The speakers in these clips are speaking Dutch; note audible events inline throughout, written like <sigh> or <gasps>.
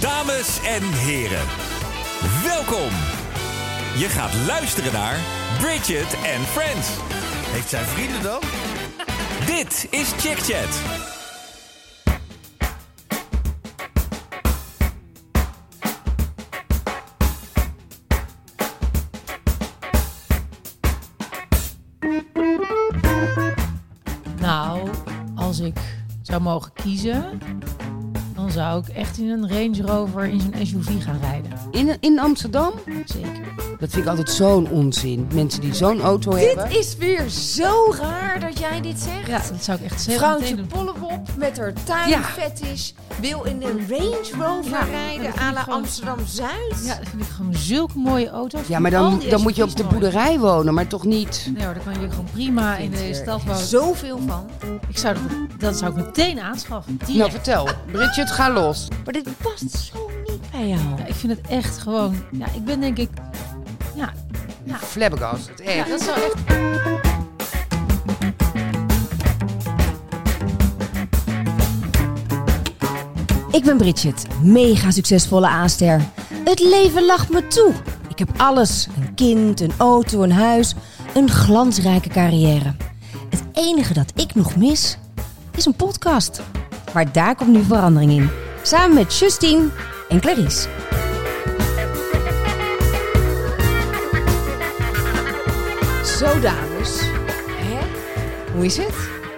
Dames en heren, welkom. Je gaat luisteren naar Bridget and Friends. Heeft zij vrienden dan? Dit is Chick Chat. Nou, als ik zou mogen kiezen, dan zou ik echt in een Range Rover in zo'n SUV gaan rijden. In, in Amsterdam? Zeker. Dat vind ik altijd zo'n onzin. Mensen die zo'n auto hebben. Dit is weer zo raar dat jij dit zegt. Ja, dat zou ik echt zeker meteen Vrouwtje doen. Pollewop met haar Ja. tuinvet is, wil in een Range Rover Ja, dat rijden vind à ik la gewoon- Amsterdam-Zuid. Ja, dat vind ik gewoon zulke mooie auto's. Ja, maar Al dan, die dan moet je op de SUV's nooit. boerderij wonen, maar toch niet. Nee hoor, dan kan je gewoon prima in de stad wonen. Zoveel van. Ik zou dat, dat zou ik meteen aanschaffen. Nou, Direct. vertel. Bridget, ga los. Maar dit past zo niet bij jou. Ja, ik vind het echt gewoon... Ja, ik ben denk ik... Ja, Flabbergast, het ja echt. dat zou echt... Ik ben Bridget, mega succesvolle aanster. Het leven lacht me toe. Ik heb alles: een kind, een auto, een huis, een glansrijke carrière. Het enige dat ik nog mis is een podcast. Maar daar komt nu verandering in. Samen met Justine en Clarice. Zo, dames. Hè? Hoe is het?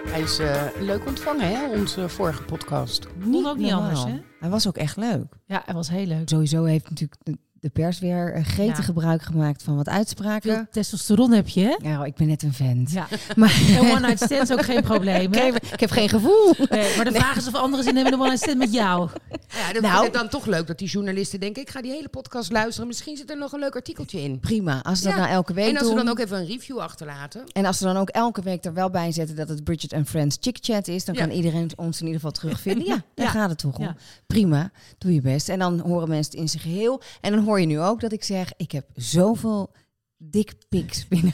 Hij is eh, leuk ontvangen, hè, onze vorige podcast. Kon ook niet anders, hè? Hij was ook echt leuk. Ja, het was heel leuk. Sowieso heeft natuurlijk de- de pers weer eh, gretig Ja. gebruik gemaakt van wat uitspraken. Veel testosteron heb je, hè? Ja, Nou, ik ben net een vent. Ja. <laughs> Maar En one night stands ook <laughs> geen probleem, hè? ik heb geen gevoel. Nee, maar de vraag is of anderen zin hebben in een one-night stand met jou. Ja, dan Nou. vind ik dan toch leuk dat die journalisten denken... ik ga die hele podcast luisteren, misschien zit er nog een leuk artikeltje in. <laughs> Prima, als ze dat Ja, nou elke week En als we doen. dan ook even een review achterlaten. En als ze dan ook elke week er wel bij zetten dat het Bridget and Friends Chick Chat is, dan Ja. kan iedereen ons in ieder geval <laughs> terugvinden. Ja, daar Ja. gaat het toch om. Ja. Prima, doe je best. En dan horen mensen het in zijn geheel. En dan hoor je nu ook dat ik zeg, ik heb zoveel dik pics <laughs> binnen.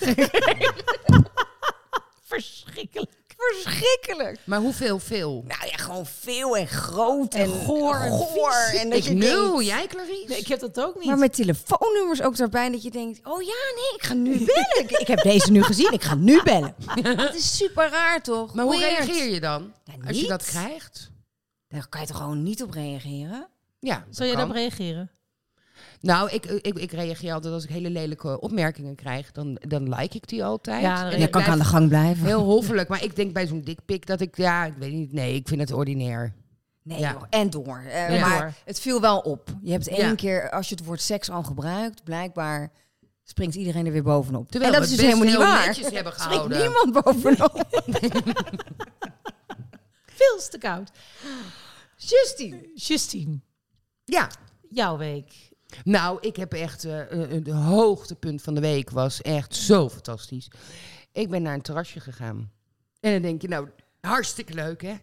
<laughs> Verschrikkelijk. Verschrikkelijk. Maar hoeveel, veel? Nou ja, gewoon veel en groot en, goor en vies. en dat ik je nul, denkt- jij Clarice? Nee, ik heb dat ook niet. Maar met telefoonnummers ook daarbij dat je denkt, oh ja, nee, ik ga nu bellen. ik, ik heb deze nu gezien, ik ga nu <laughs> bellen. Dat is super raar toch? maar hoe Weird. reageer je dan? Ja, Als je niet. dat krijgt? Daar kan je toch gewoon niet op reageren? Ja, dat Zou jij kan. daarop reageren? Nou, ik, ik, ik reageer altijd als ik hele lelijke opmerkingen krijg. Dan, dan like ik die altijd. Ja, dan En reageer- ik Je kan Je kan blijf aan de gang blijven. Heel hoffelijk. Maar ik denk bij zo'n dikpik dat ik... Ja, ik weet niet. Nee, ik vind het ordinair. Nee, Ja. joh, en door. Eh, Ja. Maar Door. het viel wel op. Je hebt één Ja. keer, als je het woord seks al gebruikt, blijkbaar springt iedereen er weer bovenop. Terwijl en dat we is dus het best helemaal niet heel waar. netjes hebben Springt gehouden. niemand <laughs> bovenop. Veel te koud. Justine. Justine, Ja. jouw week. Nou, ik heb echt... eh, eh, het hoogtepunt van de week was echt zo fantastisch. Ik ben naar een terrasje gegaan. En dan denk je, nou, hartstikke leuk, hè?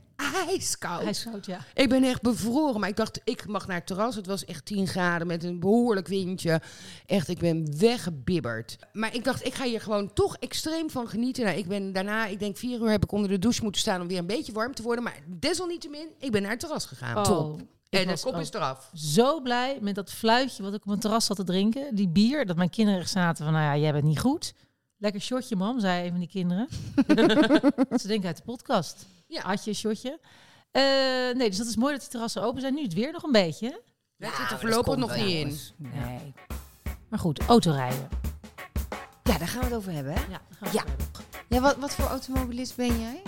Ijskoud. Hij is koud, ja. Ik ben echt bevroren, maar ik dacht, ik mag naar het terras. Het was echt 10 graden met een behoorlijk windje. Echt, ik ben weggebibberd. Maar ik dacht, ik ga hier gewoon toch extreem van genieten. Nou, ik ben daarna, ik denk vier uur heb ik onder de douche moeten staan om weer een beetje warm te worden. Maar desalniettemin, ik ben naar het terras gegaan. Oh, Top. ik En de was kop ook is eraf. Zo blij met dat fluitje wat ik op mijn terras zat te drinken. Die bier, dat mijn kinderen echt zaten van, nou ja, jij bent niet goed. Lekker shotje, mam, zei een van die <laughs> kinderen. Ze denken uit de podcast. Ja. Had je een shotje? Eh, nee, dus dat is mooi dat die terrassen open zijn. Nu het weer nog een beetje. hè? Dat zit er voorlopig nog niet in. Nee. Maar goed, autorijden. Ja, daar gaan we het over hebben. hè? Ja, daar gaan we Ja. verder. Ja, wat, wat voor automobilist ben jij?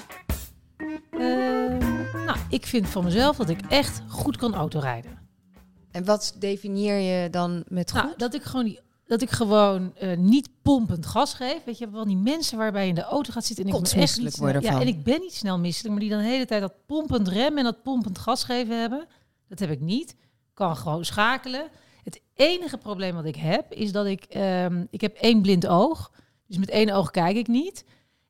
Ehm, nou, ik vind van mezelf dat ik echt goed kan autorijden. En wat definieer je dan met goed? Nou, dat ik gewoon, die- dat ik gewoon eh, niet pompend gas geef. Weet je, je, hebt wel die mensen waarbij je in de auto gaat zitten en ik ben echt Kotsmisselijk niet snel- worden Ja, van. en ik ben niet snel misselijk, maar die dan de hele tijd dat pompend remmen en dat pompend gas geven hebben. Dat heb ik niet. Kan gewoon schakelen. Het enige probleem wat ik heb is dat ik ehm, ik heb één blind oog. Dus met één oog kijk ik niet.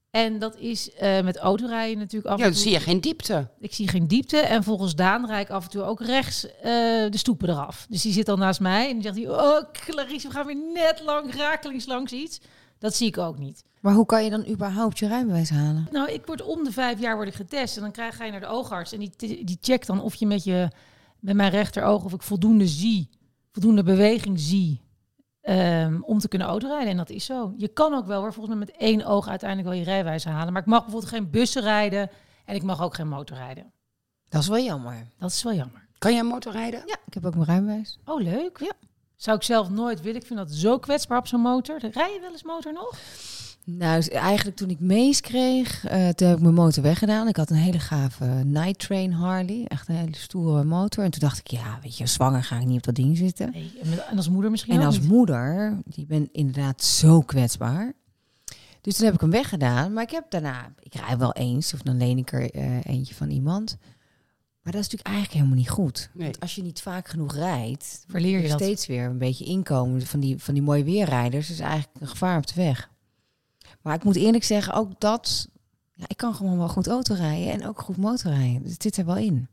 En dat is eh, met autorijden natuurlijk af Ja, en dan toe. zie je geen diepte. Ik zie geen diepte. En volgens Daan rijd ik af en toe ook rechts eh, de stoepen eraf. Dus die zit al naast mij. En die zegt hij, oh Clarice, we gaan weer net lang, rakelings langs iets. Dat zie ik ook niet. Maar hoe kan je dan überhaupt je rijbewijs halen? Nou, ik word om de vijf jaar word ik getest. En dan krijg, ga je naar de oogarts. En die, die checkt dan of je met je met mijn rechteroog of ik voldoende zie, voldoende beweging zie. ehm, om te kunnen autorijden. En dat is zo. Je kan ook wel, hoor, volgens mij met één oog uiteindelijk wel je rijwijze halen. Maar ik mag bijvoorbeeld geen bussen rijden en ik mag ook geen motor rijden. Dat is wel jammer. Dat is wel jammer. Kan jij motorrijden? Ja, ik heb ook mijn rijbewijs. Oh, leuk. Ja. Zou ik zelf nooit willen. Ik vind dat zo kwetsbaar op zo'n motor. Rij je wel eens motor nog? Nou, s- eigenlijk toen ik mees kreeg, eh, toen heb ik mijn motor weggedaan. Ik had een hele gave eh, Night Train Harley, echt een hele stoere motor. En toen dacht ik, ja, weet je, zwanger ga ik niet op dat ding zitten. Nee. En met- en als moeder misschien En ook als niet. moeder, die ben inderdaad zo kwetsbaar. Dus toen heb ik hem weggedaan. Maar ik heb daarna, ik rij wel eens, of dan leen ik er eh, eentje van iemand. Maar dat is natuurlijk eigenlijk helemaal niet goed. Nee. Want als je niet vaak genoeg rijdt, Verleer je er dat? steeds weer een beetje inkomen van die, van die mooie weerrijders is eigenlijk een gevaar op de weg. Maar ik moet eerlijk zeggen, ook dat. Ja, ik kan gewoon wel goed autorijden en ook goed motorrijden. Dus dit er wel in.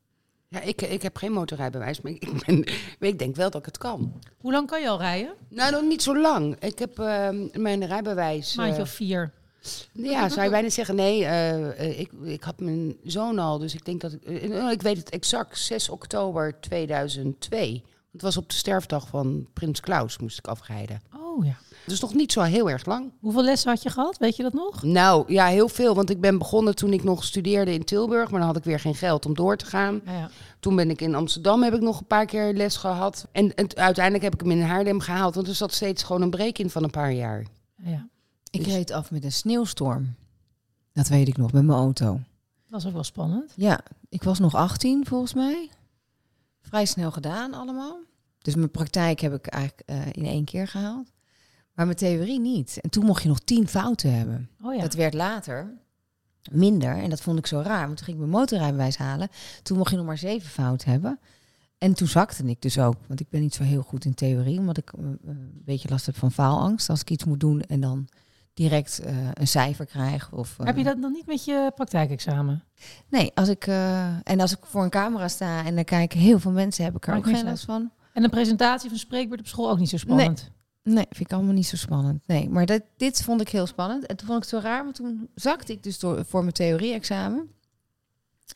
Ja, ik, ik heb geen motorrijbewijs, maar ik, ik ben, maar ik denk wel dat ik het kan. Hoe lang kan je al rijden? Nou, nog niet zo lang. Ik heb ehm, mijn rijbewijs... Een maandje eh, of vier. Ja, zou je bijna zeggen, nee, eh, eh, ik, ik had mijn zoon al, dus ik denk dat ik... eh, eh, ik weet het exact, 6 oktober 2002. Het was op de sterfdag van Prins Klaus moest ik afrijden. Oh ja. Dus nog niet zo heel erg lang. Hoeveel lessen had je gehad? Weet je dat nog? Nou, ja, heel veel. Want ik ben begonnen toen ik nog studeerde in Tilburg. Maar dan had ik weer geen geld om door te gaan. Ja, ja. Toen ben ik in Amsterdam, heb ik nog een paar keer les gehad. En, en t- uiteindelijk heb ik hem in Haarlem gehaald. Want er zat steeds gewoon een break in van een paar jaar. Ja, ja. Ik Dus- reed af met een sneeuwstorm. Dat weet ik nog, met mijn auto. Dat was ook wel spannend. Ja, ik was nog 18 volgens mij. Vrij snel gedaan allemaal. Dus mijn praktijk heb ik eigenlijk eh, in één keer gehaald. Maar mijn theorie niet. En toen mocht je nog 10 fouten hebben. Oh ja. Dat werd later minder. En dat vond ik zo raar. Want toen ging ik mijn motorrijbewijs halen. Toen mocht je nog maar zeven fout hebben. En toen zakte ik dus ook. Want ik ben niet zo heel goed in theorie. Omdat ik eh, een beetje last heb van faalangst. Als ik iets moet doen en dan direct eh, een cijfer krijg. Of, eh, Heb je dat dan niet met je praktijkexamen? Nee, als ik, eh, en als ik voor een camera sta en dan kijken heel veel mensen, heb ik er Maakt ook geen niks last van. En een presentatie van spreekbeurt op school ook niet zo spannend. Nee, vind ik allemaal niet zo spannend. Nee, maar dat, dit vond ik heel spannend. En toen vond ik het zo raar, want toen zakte ik dus door, voor mijn theorie-examen.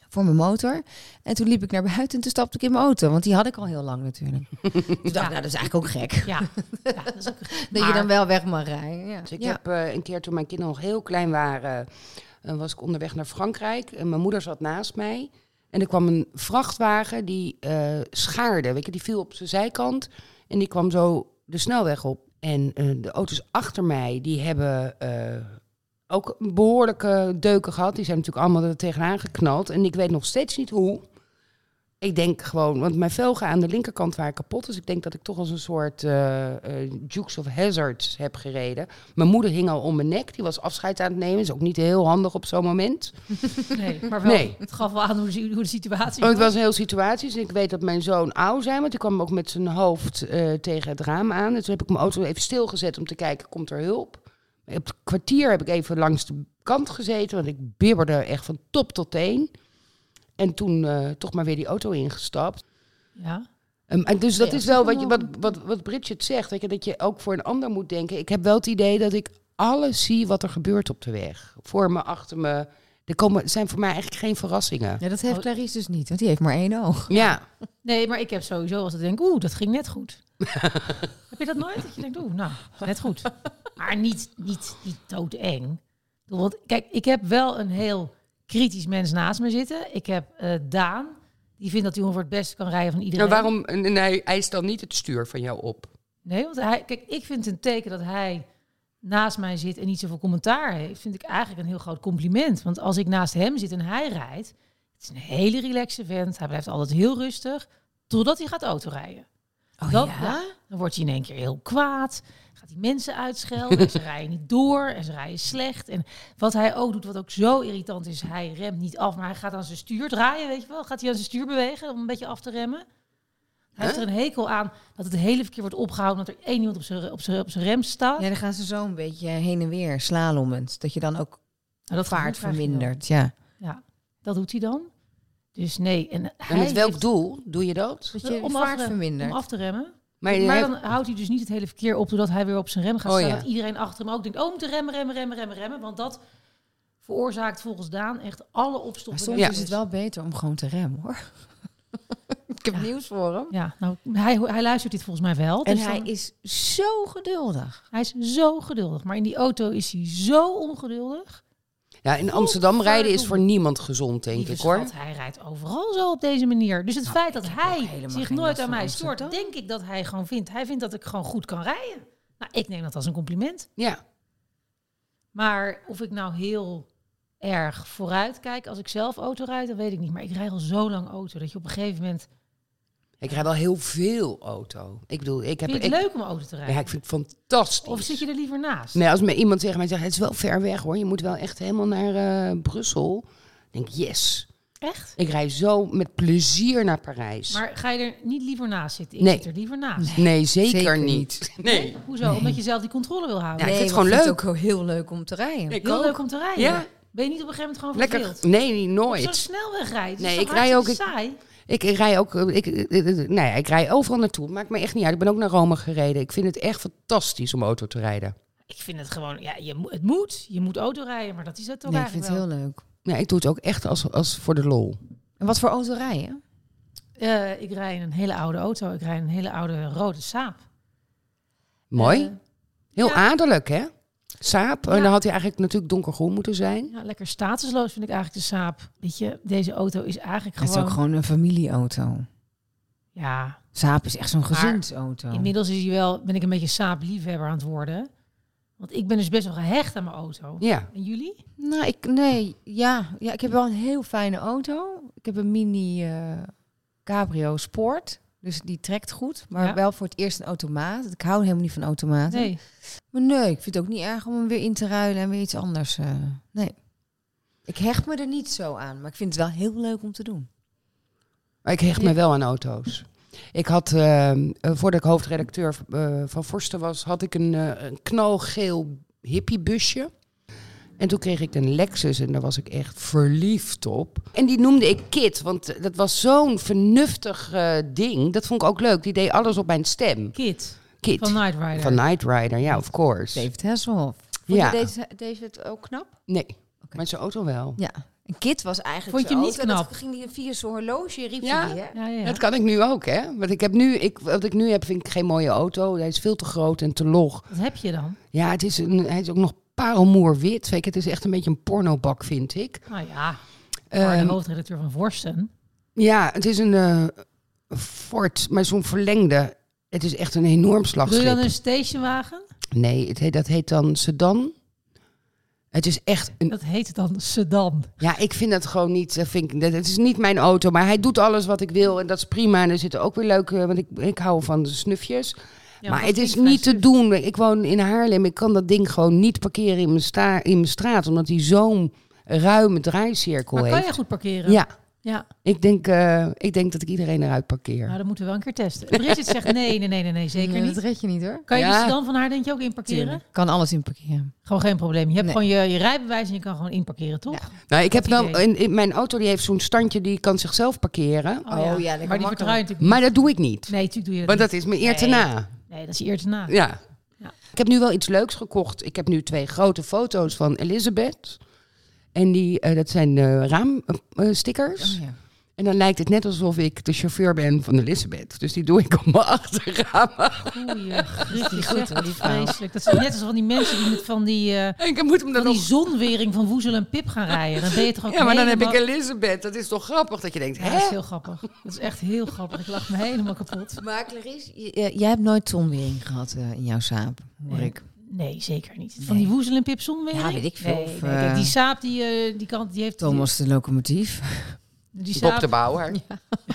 Voor mijn motor. En toen liep ik naar buiten en toen stapte ik in mijn auto. Want die had ik al heel lang <laughs> natuurlijk. Dus dacht, ik, nou, dat is eigenlijk ook <laughs> gek. Ja. ja, dat is <laughs> ook Dat je Maar- dan wel weg mag rijden. Ja. Dus ik Ja. heb eh, een keer toen mijn kinderen nog heel klein waren, eh, was ik onderweg naar Frankrijk. En mijn moeder zat naast mij. En er kwam een vrachtwagen die eh, schaarde. Weet je, die viel op zijn zijkant. En die kwam zo de snelweg op. En eh, de auto's achter mij, die hebben eh, ook behoorlijke deuken gehad. Die zijn natuurlijk allemaal er tegenaan geknald. En ik weet nog steeds niet hoe. Ik denk gewoon, want mijn velgen aan de linkerkant waren kapot. Dus ik denk dat ik toch als een soort eh, eh, Dukes of Hazard heb gereden. Mijn moeder hing al om mijn nek. Die was afscheid aan het nemen. Is ook niet heel handig op zo'n moment. Nee, maar wel, Nee. het gaf wel aan hoe, de- hoe de situatie Oh, het was een heel situatie. Dus ik weet dat mijn zoon oud zijn. Want die kwam ook met zijn hoofd eh, tegen het raam aan. En toen heb ik mijn auto even stilgezet om te kijken, komt er hulp? Op het kwartier heb ik even langs de kant gezeten. Want ik bibberde echt van top tot teen. En toen eh, toch maar weer die auto ingestapt. Ja. Um, en dus dat Ja, is dat wel is wat, je, wat, allemaal- wat, wat Bridget zegt, weet je, dat je ook voor een ander moet denken. Ik heb wel het idee dat ik alles zie wat er gebeurt op de weg. Voor me, achter me. Er komen, zijn voor mij eigenlijk geen verrassingen. Ja, dat heeft Clarice dus niet, want die heeft maar één oog. Ja, Nee, maar ik heb sowieso als ik denk, oeh, dat ging net goed. heb je dat nooit? Dat je denkt, oeh, nou, net goed. Maar niet, niet, niet doodeng. Ik bedoel, Want kijk, ik heb wel een heel kritisch mens naast me zitten. Ik heb eh, Daan, die vindt dat hij ongeveer het beste kan rijden van iedereen. nou, waarom en hij eist dan niet het stuur van jou op? Nee, want hij, kijk, ik vind het een teken dat hij naast mij zit en niet zoveel commentaar heeft, vind ik eigenlijk een heel groot compliment. Want als ik naast hem zit en hij rijdt, het is een hele relaxe vent. Hij blijft altijd heel rustig, totdat hij gaat autorijden. Oh Dat- Dan wordt hij in één keer heel kwaad. Gaat hij mensen uitschelden. en ze rijden niet door. En ze rijden slecht. En wat hij ook doet, wat ook zo irritant is. Hij remt niet af, maar hij gaat aan zijn stuur draaien. Weet je wel? Gaat hij aan zijn stuur bewegen om een beetje af te remmen. Hij heeft er een hekel aan dat het hele verkeer wordt opgehouden. Dat er één iemand op zijn, op zijn, op zijn rem staat. Ja, dan gaan ze zo een beetje heen en weer slalommend. Dat je dan ook Nou, dat vaart gevoel krijg je wel. vermindert. Ja. Ja, dat doet hij dan. Dus nee. En, hij En met welk heeft- doel doe je dat? Dat je Om de af vaart te- Om vermindert. af te remmen. Maar, je Maar hebt- dan houdt hij dus niet het hele verkeer op doordat hij weer op zijn rem gaat Oh, staan. ja. Dat iedereen achter hem ook denkt, oh, moet remmen, remmen, remmen, remmen, remmen. Want dat veroorzaakt volgens Daan echt alle Maar opstoppingen. soms Ja. is het wel beter om gewoon te remmen hoor. <laughs> Ik heb nieuws voor hem. Ja, nou, hij, hij luistert dit volgens mij wel. En dus hij dan- is zo geduldig. hij is zo geduldig. Maar in die auto is hij zo ongeduldig. Ja, in Amsterdam rijden is voor niemand gezond, denk Lieve ik hoor. schat, hij rijdt overal zo op deze manier. Dus het Nou, feit dat hij helemaal zich geen nooit last aan van mij Amsterdam. stoort, denk ik dat hij gewoon vindt. Hij vindt dat ik gewoon goed kan rijden. Nou, ik neem dat als een compliment. Ja. Maar of ik nou heel erg vooruit kijk als ik zelf auto rijd, dat weet ik niet. Maar ik rijd al zo lang auto dat je op een gegeven moment... Ik rijd wel heel veel auto. Ik bedoel, ik heb... Vind je ik, het leuk om auto te rijden? Ja, ik vind het fantastisch. Of zit je er liever naast? Nee, als me iemand tegen mij zegt, het is wel ver weg hoor. Je moet wel echt helemaal naar eh, Brussel. Dan denk ik, yes. Echt? Ik rij zo met plezier naar Parijs. Maar ga je er niet liever naast zitten? Ik Nee. zit er liever naast. nee, zeker, Zeker niet. Nee. Hoezo? Omdat je zelf die controle wil houden. Ja, ik vind het maar gewoon ook wel heel leuk om te rijden. Ik Heel ook. leuk om te rijden. Ja. Ben je niet op een gegeven moment gewoon Lekker. verveeld? Nee, niet- Op zo'n nooit. snelweg rijden. Nee, Nee, ik ik rij rij ook- saai. Ik rij ook. eh, Ik, eh, eh, eh, nou ja, ik rij overal naartoe. Maakt me echt niet uit. Ik ben ook naar Rome gereden. Ik vind het echt fantastisch om auto te rijden. Ik vind het gewoon, ja, je, mo- het moet. Je moet auto rijden, maar dat is het toch Nee, ik vind eigenlijk het heel wel. leuk. Ja, ik doe het ook echt als, als voor de lol. En wat voor auto rijden? Eh, ik rij in een hele oude auto. Ik rij in een hele oude rode Saab. Mooi. Eh, Heel ja. adellijk, hè? Saap. En Ja. dan had hij eigenlijk natuurlijk donkergroen moeten zijn. ja, lekker statusloos vind ik eigenlijk de Saab. Weet je, deze auto is eigenlijk Het gewoon... is ook gewoon een familieauto. Ja, Saap is echt zo'n gezinsauto. inmiddels is hij wel, ben ik een beetje Saab-liefhebber aan het worden. Want ik ben dus best wel gehecht aan mijn auto. Ja. En jullie? Nou, ik, nee, ja, ja. Ik heb wel een heel fijne auto. Ik heb een mini eh, cabrio sport. Dus die trekt goed. Maar Ja. wel voor het eerst een automaat. Ik hou helemaal niet van automaten. Nee. Maar nee, ik vind het ook niet erg om hem weer in te ruilen en weer iets anders. eh, nee. Ik hecht me er niet zo aan. Maar ik vind het wel heel leuk om te doen. Maar ik hecht me wel aan auto's. Ik had, eh, eh, voordat ik hoofdredacteur eh, van Forsten was, had ik een, eh, een knalgeel hippiebusje. En toen kreeg ik een Lexus en daar was ik echt verliefd op. En die noemde ik Kit, want eh, dat was zo'n vernuftig eh, ding. Dat vond ik ook leuk. Die deed alles op mijn stem. Kit Kit. van Night Rider. Van Knight Rider, ja, of course. David Hasselhoff. Vond Ja. je deze, deze het ook knap? Nee, maar zijn auto wel. Ja. En Kit was eigenlijk Vond je zijn Oh, hem niet auto. Dat knap? ging die via zijn horloge, riep Ja. hij die, hè? Ja, ja, ja. Dat kan ik nu ook, hè? Want ik heb nu, ik, wat ik nu heb, vind ik geen mooie auto. Hij is veel te groot en te log. Wat heb je dan? Ja, het is een, hij is ook nog parelmoerwit. Weet je, Het is echt een beetje een pornobak, vind ik. Nou ja, maar Ehm, de hoofdredacteur van Vorsten. ja, het is een eh, Ford, maar zo'n verlengde. Het is echt een enorm Doe je slagschip. dan een stationwagen? Nee, het heet, dat heet dan sedan. Het is echt een... Dat heet dan sedan. Ja, ik vind dat gewoon niet... eh, Vind ik, dat, het is niet mijn auto, maar hij doet alles wat ik wil. En dat is prima. En er zitten ook weer leuke... Want ik, ik hou van de snufjes. maar het is niet te doen. Ik woon in Haarlem. Ik kan dat ding gewoon niet parkeren in mijn, sta, in mijn straat. Omdat hij zo'n ruime draaicirkel Maar kan heeft. je goed parkeren? Ja, ja. ik denk, eh, ik denk dat ik iedereen eruit parkeer. Nou, dat moeten we wel een keer testen. Bridget zegt nee, nee, nee, nee, nee zeker Nee, niet. Dat red je dus niet hoor. Kan je Ja. de sedan van haar denk je ook inparkeren? Kan alles in parkeren. Gewoon geen probleem. Je hebt Nee. gewoon je, je rijbewijs en je kan gewoon inparkeren, toch? Ja. nou, ik heb dat wel idee. in, in mijn auto die heeft zo'n standje die kan zichzelf parkeren. Oh Maar ja, lekker die makkelijk. vertrouw je natuurlijk Maar dat doe ik niet. niet. Nee, natuurlijk doe je dat niet. Want dat is me eer te Nee. na. Nee, dat is eerst na. Ja. Ja. Ik heb nu wel iets leuks gekocht. Ik heb nu twee grote foto's van Elizabeth. En die, eh, dat zijn raamstickers. Oh, ja. En dan lijkt het net alsof ik de chauffeur ben van Elisabeth. Dus die doe ik op mijn achterraam. <laughs> Goeie grut, je goed, zegt hoor, dat die is vrouw. vreselijk. Dat is net als van die mensen die met van die, eh, En ik moet hem van dan die nog... zonwering van Woezel en Pip gaan rijden. Dan ben je toch ook Ja, maar dan heb ik helemaal- Elisabeth. Dat is toch grappig dat je denkt, Ja, dat is hè? heel grappig. Dat is echt heel grappig. Ik lach me helemaal kapot. Maar Clarice, j- eh, jij hebt nooit zonwering gehad eh, in jouw saap, hoor Nee. ik. Nee, zeker niet. Van Nee. die woezel en pipsom weer? Ja, weet ik veel. Nee, Of, nee, kijk, die eh, saap, die, eh, die kant, die heeft... Thomas de locomotief. Die, die Bob saap, de Bauer. <laughs>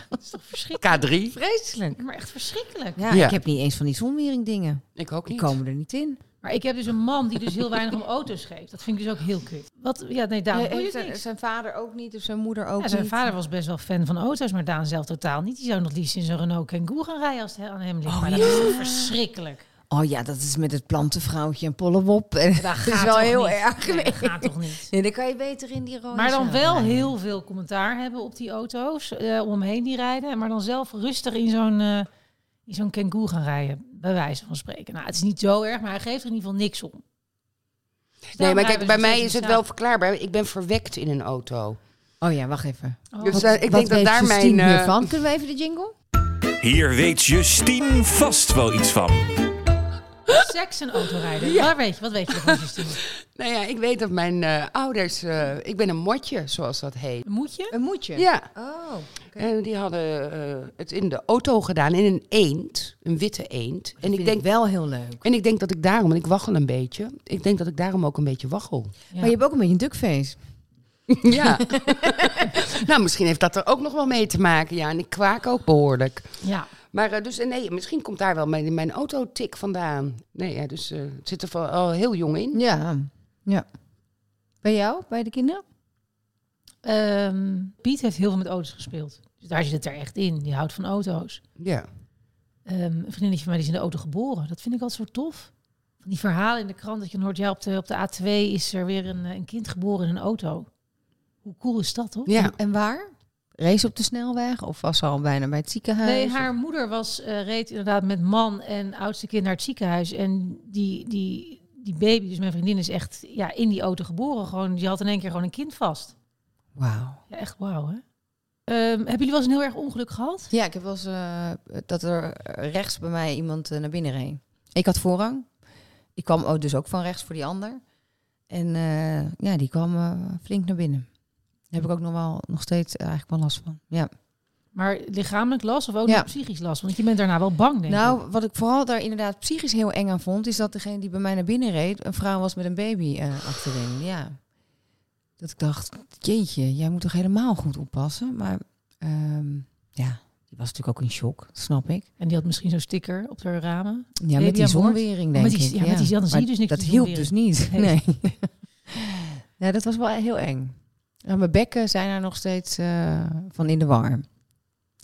dat is toch verschrikkelijk? K3. Vreselijk. Maar echt verschrikkelijk. Ja, Ja. ik heb niet eens van die zonwering dingen. Ik ook Die niet. komen er niet in. Maar ik heb dus een man die dus heel weinig om auto's geeft. Dat vind ik dus ook heel kut. Wat, ja, nee, Eh, Daan, doe je het niks. vader ook niet of zijn moeder ook Ja, zijn vader was best wel fan van auto's, maar Daan zelf totaal niet. Die zou nog liefst in zo'n Renault Kangoo gaan rijden als het aan hem ligt. Oh, maar dat is toch verschrikkelijk. Oh ja, dat is met het plantenvrouwtje en pollenwop. <laughs> En Dat dat is wel heel erg. Nee, Nee. dat gaat toch <laughs> niet. Nee, dan kan je beter in die rode Maar dan Saab wel rijden. heel veel commentaar hebben op die auto's eh, omheen die rijden. Maar dan zelf rustig in zo'n eh, in zo'n Kangoo gaan rijden, bij wijze van spreken. Nou, het is niet zo erg, maar hij geeft er in ieder geval niks om. Dus Nee, daarom rijden maar kijk, we bij nog mij steeds is het in wel samen. verklaarbaar. Ik ben verwekt in een auto. Oh ja, wacht even. Dus eh, ik denk dat daar mijn... eh, hiervan? Kunnen we even de jingle? Hier weet Justine vast wel iets van. Seks en autorijden. Waar weet je, wat weet je ervan, Justine? nou ja, ik weet dat mijn eh, ouders... eh, ik ben een motje, zoals dat heet. Moet je? Een moedje. Ja, Oh. en die hadden eh, het in de auto gedaan, in een eend. Een witte eend. En ik denk wel heel leuk. En ik denk dat ik daarom, en ik waggel een beetje, ik denk dat ik daarom ook een beetje waggel. Ja. Maar je hebt ook een beetje een duckface. <laughs> Ja. <laughs> nou, misschien heeft dat er ook nog wel mee te maken. Ja, en ik kwaak ook behoorlijk. Ja. Maar eh, dus, eh, nee, misschien komt daar wel mijn, mijn autotik vandaan. Nee, ja, dus eh, het zit er van, al heel jong in. Ja. ja. Bij jou, bij de kinderen? Ehm, Piet heeft heel veel met auto's gespeeld. Dus daar zit het er echt in. Die houdt van auto's. Ja. Ehm, een vriendinnetje van mij die is in de auto geboren. Dat vind ik altijd zo tof. Van die verhalen in de krant dat je hoort, ja, op de, op de A2 is er weer een, eh, een kind geboren in een auto. Hoe cool is dat, toch? Ja. En, en waar? Race op de snelweg? Of was ze al bijna bij het ziekenhuis? Nee, haar moeder was, eh, reed inderdaad met man en oudste kind naar het ziekenhuis. En die, die, die baby, dus mijn vriendin, is echt ja, in die auto geboren. Gewoon, die had in één keer gewoon een kind vast. Wauw. Ja, echt wauw, hè? Ehm, hebben jullie wel eens een heel erg ongeluk gehad? Ja, ik heb wel eens eh, dat er rechts bij mij iemand eh, naar binnen reed. Ik had voorrang. Ik kwam ook dus ook van rechts voor die ander. En eh, ja, die kwam eh, flink naar binnen. Daar heb ik ook nog wel nog steeds eh, eigenlijk wel last van. Ja. Maar lichamelijk last of ook Ja. nog psychisch last? Want je bent daarna wel bang, denk ik. Nou, wat ik vooral daar inderdaad psychisch heel eng aan vond, is dat degene die bij mij naar binnen reed, een vrouw was met een baby eh, achterin. Ja. Dat ik dacht, jeetje, jij moet toch helemaal goed oppassen. Maar ehm, ja, die was natuurlijk ook in shock, snap ik. En die had misschien zo'n sticker op haar ramen. Ja, met Baby die aan boord? zonwering denk Met die- ik. ja, met die- dan zie je Maar dus niks, Dat die hielp dus zonwering. niet. Nee. <laughs> Nee. ja, dat was wel heel eng. En mijn bekken zijn er nog steeds eh, van in de war.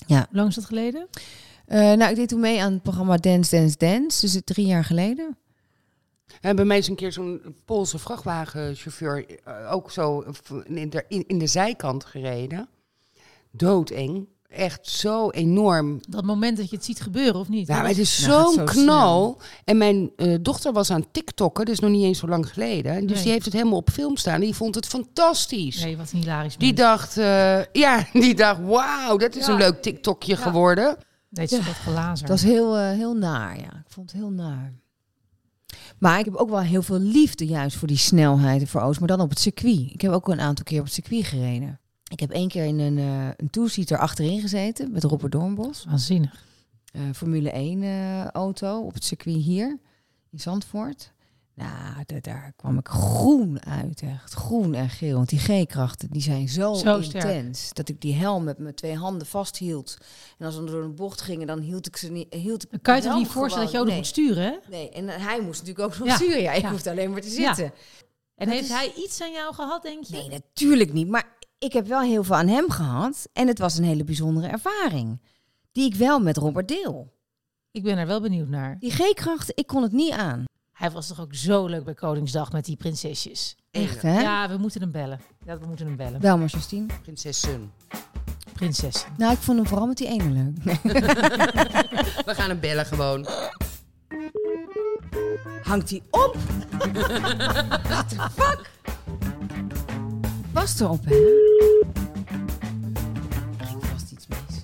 Hoe lang is dat geleden? Eh, nou, ik deed toen mee aan het programma Dance, Dance, Dance. Dus het drie jaar geleden. En bij mij is een keer zo'n Poolse vrachtwagenchauffeur eh, ook zo in de, in, in de zijkant gereden. Doodeng. Echt zo enorm. Dat moment dat je het ziet gebeuren, of niet? Ja, maar het is Nou, gaat zo'n zo knal. En mijn eh, dochter was aan TikTokken, dus nog niet eens zo lang geleden. Dus Nee. die heeft het helemaal op film staan. Die vond het fantastisch. Nee, wat een hilarisch Die moment. dacht, eh, ja, <laughs> die dacht, wauw, dat is Ja. een leuk TikTokje geworden. Nee, het is wat glazer. Het was heel, eh, heel naar, ja. Ik vond het heel naar. Maar ik heb ook wel heel veel liefde juist voor die snelheid en voor auto's. Maar dan op het circuit. Ik heb ook een aantal keer op het circuit gereden. Ik heb één keer in een, eh een toezitter achterin gezeten met Robert Doornbos. waanzinnig. eh, Formule 1 eh, auto op het circuit hier in Zandvoort. Nou, da- daar kwam ik groen uit, echt. Groen en geel. Want die G-krachten die zijn zo, Zo sterk. intens. Dat ik die helm met mijn twee handen vasthield. En als we door een bocht gingen, dan hield ik ze niet. Hield ik Dan kan je de toch helm niet voorstellen dat je ook gewoon. nog moet sturen, hè? nee. nee, en eh, hij moest natuurlijk ook nog Ja, sturen. Ja, ik ja. hoefde alleen maar te Ja. zitten. En Dat heeft is- hij iets aan jou gehad, denk je? Nee, natuurlijk niet. Maar ik heb wel heel veel aan hem gehad. En het was een hele bijzondere ervaring. Die ik wel met Robert deel. Ik ben er wel benieuwd naar. Die G-krachten, ik kon het niet aan. Hij was toch ook zo leuk bij Koningsdag met die prinsesjes. Echt, hè? Ja, we moeten hem bellen. Ja, we moeten hem bellen. Wel maar, Justine. Prinses Sun. Prinsessen. Nou, ik vond hem vooral met die ene leuk. We gaan hem bellen gewoon. <laughs> Hangt hij <laughs> op? What the fuck? Was erop, hè? Er ging vast iets mis.